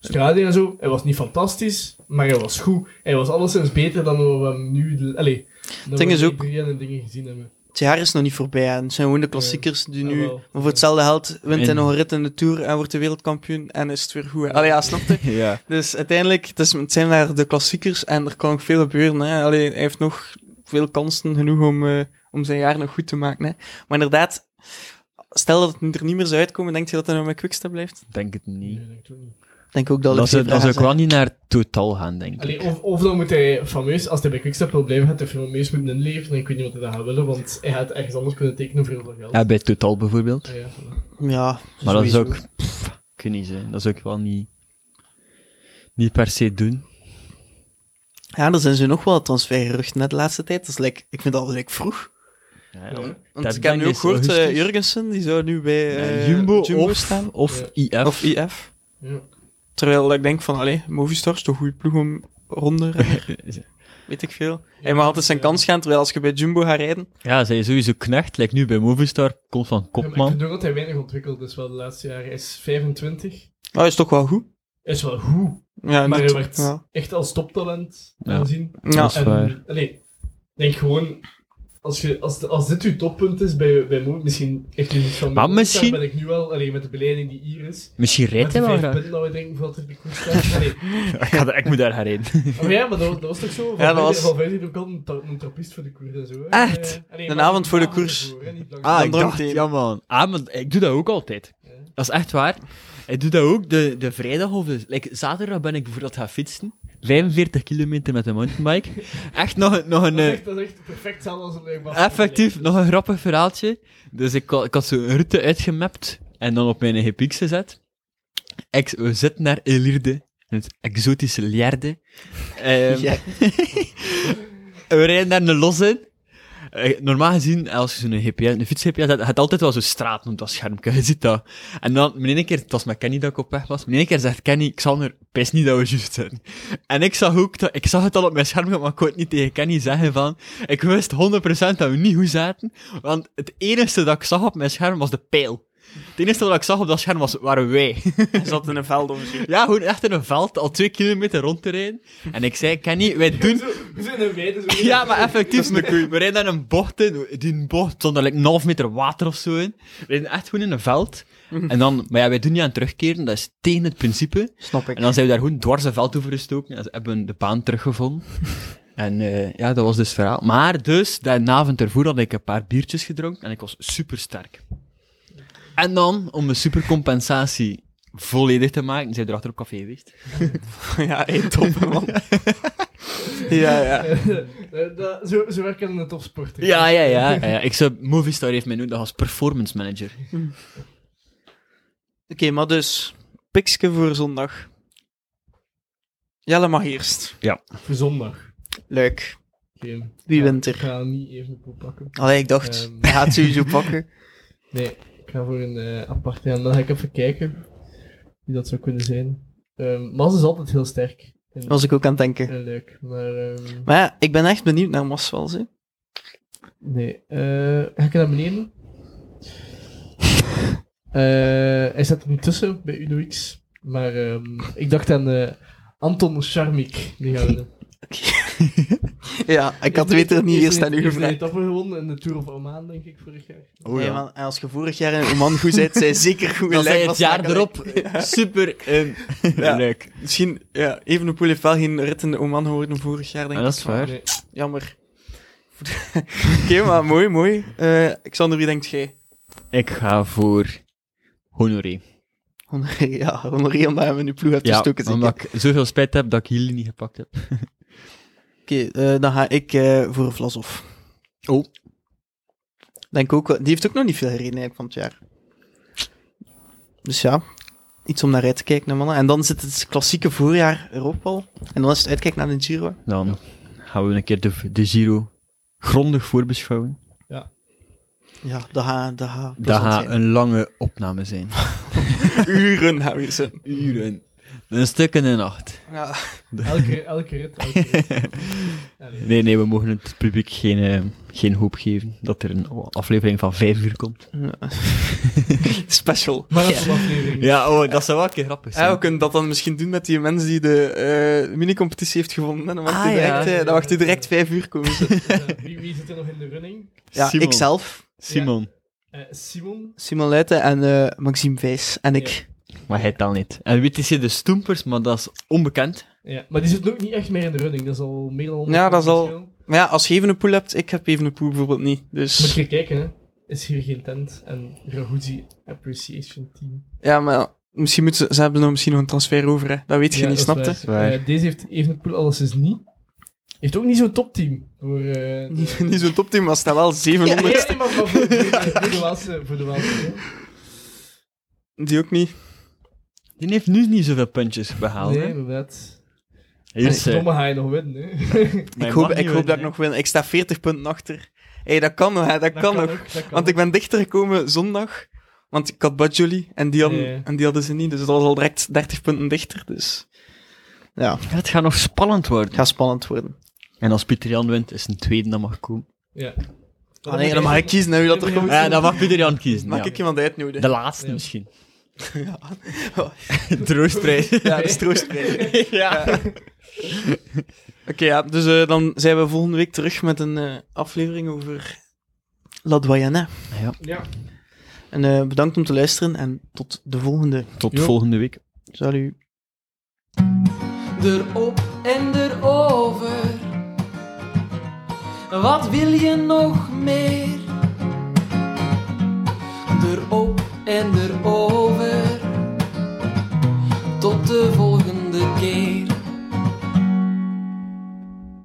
D: Strade en zo, hij was niet fantastisch, maar hij was goed. Hij was alleszins beter dan we hem nu... Allee, dan
C: ding
D: we
C: is
D: die
C: ook-
D: drie andere dingen gezien hebben.
C: het jaar is nog niet voorbij en het zijn gewoon de klassiekers die nu,
D: Jawel.
C: maar voor hetzelfde geld wint hij
A: En-
C: nog een rit in de Tour en wordt de wereldkampioen en is het weer goed. hè. Allee, ja, snap
A: [LAUGHS]
C: je?
A: ja.
E: Dus uiteindelijk, het, is, het zijn daar de klassiekers en er kan nog veel gebeuren. Hè. Allee, hij heeft nog veel kansen genoeg om, eh, om zijn jaar nog goed te maken. Hè. Maar inderdaad, stel dat het er niet meer zou uitkomen, denk je dat hij nog met Quickstep blijft?
A: Ik denk het
D: Nee,
A: niet.
D: ik denk het ook niet.
C: Ik denk ook dat
A: Dat
C: het
A: ze,
C: zeven
A: dat ze
C: dagen
A: ook wel niet naar totaal gaan, denk ik.
D: Allee, oh. of, of dan moet hij fameus, als hij bij Quickstep wil blijven, gaat hij fameus moeten inleveren. Ik weet niet wat hij daar gaat willen, want hij gaat ergens anders kunnen tekenen voor heel veel geld.
A: Ja, bij totaal bijvoorbeeld.
D: Ah, ja, voilà.
C: zijn. Ja,
A: Maar dat is
C: sowieso.
A: ook... pff, Ik weet niet, hè. dat zou ik wel niet... Niet per se doen.
C: Ja, er zijn ze nog wel transfergeruchten net de laatste tijd. Dat is like, ik vind dat wel like, vroeg.
A: Ja,
E: Want
A: Dat
E: ik heb nu
A: denk
E: ook
A: is
E: gehoord, eh,
A: augustus.
E: Jurgensen, die zou nu bij eh,
A: Jumbo,
E: Jumbo,
A: of,
E: staan.
A: of IF.
E: Of IF.
D: Ja.
E: Terwijl ik denk van, allee, Movistar is toch een goede ploeg om
A: [LAUGHS]
E: ronder, weet ik veel. hij mag altijd zijn
D: eh,
E: kans gaan, terwijl als je bij Jumbo gaat rijden,
A: [LAUGHS] Ja, zij is sowieso knecht. Lijkt nu bij Movistar. Komt van
D: Ja, maar ik
A: Kopman.
D: vind ook dat hij weinig ontwikkeld is wel de laatste jaren. Hij is 25.
E: dat oh, is toch wel goed.
D: Hij is wel goed,
E: Ja,
D: maar hij
E: dat-
D: werd
E: ja.
D: echt als toptalent
A: Ja.
D: gezien.
E: Ja.
A: Dat is waar.
D: En, allee, ik denk gewoon, als, je, als, als dit uw toppunt is bij, bij Mo, misschien echt niet van
A: Maar
D: Movistar
A: misschien-
D: ben ik nu wel, allee, met de beleiding die hier is,
A: Misschien
D: met
A: rijdt
D: de
A: hij wel
D: vijf
A: graag.
D: punten dat we denken voor altijd de koers staat. Allee,
A: [LAUGHS] ik, ga daar- ik moet daar gaan rijden.
D: Maar ja, maar dat, dat was toch zo?
E: Ja, dat was-
D: Van Velde doet ook al een, tra- een trappist voor de koers en zo. hè.
E: Echt?
D: Eh, allee,
E: De
D: maar
E: avond voor de
D: avond
E: koers.
D: ervoor, hè, niet lang
A: Ah,
D: voor.
A: ik
E: Dan
A: dacht,
E: meteen.
A: ja man. Ah, maar ik doe dat ook altijd. Dat is echt waar. Ik doe dat ook de, de vrijdag of de... Like, zaterdag ben ik bijvoorbeeld gaan fietsen. 45 kilometer met een mountainbike. Echt nog, een- nog een...
D: Dat is
A: eh,
D: echt, dat is echt perfect hetzelfde als een leukbaar.
A: Effectief, nog een grappig verhaaltje. Dus ik, had- ik had zo'n route uitgemapt en dan op mijn GPX gezet. Ik, we zitten naar Elirde, het exotische Lierde. Ehm,
C: Ja.
A: [LAUGHS] we rijden daar een los in. Eh, normaal gezien, als je zo'n GPS, een fiets GPS hebt, gaat altijd wel zo'n straat op dat schermpje, [LAUGHS] je ziet dat. En dan, mijn ene keer, het was met Kenny dat ik op weg was, mijn ene keer zegt Kenny, ik zal er, pis niet dat we juist zijn. En ik zag ook, dat, ik zag het al op mijn schermpje, maar ik kon het niet tegen Kenny zeggen van, ik wist 100% dat we niet goed zaten, want het enige dat ik zag op mijn scherm was de pijl. Het enige dat ik zag op dat scherm was, waren wij. [LAUGHS]
E: Hij zat in een veld of zo.
A: Ja, gewoon echt in een veld, al twee kilometer rond te rijden. En ik zei, Kenny, wij doen...
D: We zijn er wij, dus we-
A: Ja, maar effectief, we, we rijden daar een bocht in. Die bocht stond er like een half meter water of zo in. We rijden echt gewoon in een veld. En dan, maar ja, wij doen niet aan terugkeren, dat is tegen het principe. [LAUGHS]
C: Snap ik.
A: En dan zijn we daar gewoon dwars een veld over gestoken. En ze hebben de baan teruggevonden. En eh, ja, dat was dus het verhaal. Maar dus, de avond ervoor had ik een paar biertjes gedronken en ik was super sterk. En dan, om de supercompensatie volledig te maken, zijn we erachter op café geweest.
E: Ja, één top,
A: [LAUGHS]
E: man. ja, ja.
D: [LAUGHS] Eh, dat- zo, zo werken de topsporter.
A: Ja, ja, ja. ja, ja. Ik zei, Movistar heeft mij nodig als performance manager.
C: Oké, maar dus,
E: Pikske voor zondag. Jelle mag eerst.
D: Voor zondag.
C: leuk.
D: Oké.
C: Wie
D: Ja,
C: wint
D: Ik
C: er?
D: ga niet even op pakken.
C: Allee, ik dacht,
D: Ehm.
C: hij gaat het sowieso pakken.
E: [LAUGHS]
D: Nee, ik ga voor een eh aparte gaan. Dan ga ik even kijken wie dat zou kunnen zijn. Ehm Mas is altijd heel sterk. En,
C: was ik ook aan het denken.
D: en leuk, maar... ehm,
C: Maar ja, ik ben echt benieuwd naar Maswals, hè.
D: Nee. eh, ga ik
C: [LAUGHS]
D: naar beneden? Eh, hij zat er nu tussen bij Uno X. Maar ehm, ik dacht aan eh, Anton Charmik. Die gaan we doen.
C: Ja, [LAUGHS] ik had beter niet eerst aan u
D: Heeft een
C: gevraagd.
D: etappe gewonnen in de Tour of Oman, denk ik, vorig jaar.
A: Oh
C: Nee, man, en als je vorig jaar in Oman goed bent, zij zeker goed
A: Dan zei
C: in lijn
A: het
C: was
A: jaar
C: maken.
A: erop.
C: [LAUGHS]
A: Super ehm,
C: Ja.
A: leuk.
C: Misschien, ja, Evenepoel heeft wel geen rit in de Oman geworden vorig jaar, denk
A: Ja,
C: ik.
A: dat is waar.
D: Nee.
C: Jammer. [LAUGHS] Oké, maar mooi, mooi. Eh Xander, wie denkt jij?
A: Ik ga voor Honoré.
C: Honoré, [LAUGHS] ja, Honoré, omdat hij me nu ploeg heeft gestoken. zeker.
A: omdat ik zoveel spijt heb dat ik jullie niet gepakt heb.
C: Oké, eh, dan ga ik eh, voor Vlasov.
A: Oh.
C: Denk ook, wel- die heeft ook nog niet veel gereden eigenlijk van het jaar. Dus ja, iets om naar uit te kijken, hè, mannen. En dan zit het klassieke voorjaar erop al. En dan is het uitkijken naar de Giro.
A: Dan gaan we een keer de, de Giro grondig voorbeschouwen.
C: Ja, dat gaat dat ga
A: Dat
C: plezant
A: gaat
C: zijn.
A: een lange opname zijn.
C: [LAUGHS] Uren gaan we zijn.
A: Uren. Een stuk in de nacht.
C: Ja.
D: Elke, elke rit, elke rit. Allee.
A: Nee, nee, we mogen het publiek geen, eh, geen hoop geven dat er een aflevering van vijf uur komt.
C: [LAUGHS] Special.
D: Maar dat is een aflevering.
A: Ja, oh, dat zou wel een keer grappig
C: Ja, we kunnen dat dan misschien doen met die mens die de eh, mini-competitie heeft gewonnen. En dan mag
A: Ah,
C: hij direct,
A: ja.
C: eh, dan mag hij direct vijf uur komen. zitten.
D: Ja, wie, wie zit er nog in de running?
C: ja,
A: Simon.
C: ikzelf,
A: Simon.
D: Eh, Simon.
C: Simon Luiten en eh, Maxime Vijs. En ik.
D: Ja.
A: Maar hij telt niet. En weet je, de Stoempers, maar dat is onbekend.
D: Ja, maar die zit ook niet echt meer in de running. Dat is al meer dan 100
C: Ja, dat is al-
D: verschil.
C: Maar ja, als je even een pool hebt, ik heb even een pool bijvoorbeeld niet.
D: Moet
C: Dus
D: je kijken, hè. Is hier geen tent en Raguzi Appreciation Team.
C: ja, maar misschien moeten ze, ze hebben nog misschien nog een transfer over, hè. Dat weet je
D: Ja,
C: niet,
D: dat is
C: snapte?
D: waar.
A: Waar.
D: Eh, deze heeft Evenepoel alles is niet. Heeft ook niet zo'n topteam. Voor, eh, de-
C: [LAUGHS] [LAUGHS] Niet, niet zo'n topteam, maar stel wel
D: Ja, nee,
C: 700.
D: nee, maar [LAUGHS] voor, voor, voor de Waalse. Voor de Waalse ja.
C: Die ook niet.
A: Die heeft nu niet zoveel puntjes behaald.
D: Nee,
A: hè?
D: inderdaad.
A: Hier is, eh,
D: Domme ga je nog winnen, hè. [LAUGHS]
A: mijn
C: ik hoop,
A: man
C: ik
A: niet
C: hoop dat ik
A: winnen,
C: nog win. Ik sta 40 punten achter. Hé, hey, dat kan nog, hè. Dat, kan nog.
D: ook, dat kan
C: Want ik ben dichter gekomen zondag. Want ik had Badjoli en, die hadden-
D: Ja.
C: en die hadden ze niet. Dus dat was al direct 30 punten dichter. Dus ja,
A: hè. Het gaat nog spannend worden.
C: het gaat spannend worden.
A: En als Pieter Jan wint, is een tweede dat mag komen.
D: Ja.
C: Ah, nee, dan mag ik kiezen hè, wie dat er komt.
A: Ja, dan mag Pieter Jan kiezen.
C: Mag
A: ja.
C: ik iemand uitnodigen?
A: De laatste
D: Ja.
A: misschien. Troostprijs.
C: [LAUGHS] Ja, dat is troostprijs. Ja. Oké, ja, dus eh, dan zijn we volgende week terug met een eh, aflevering over La Doyenne.
D: Ja.
C: En eh, bedankt om te luisteren en tot de volgende.
A: Tot
D: Jo.
A: volgende week.
C: Salut.
B: erop en erover. Wat wil je nog meer? Erop en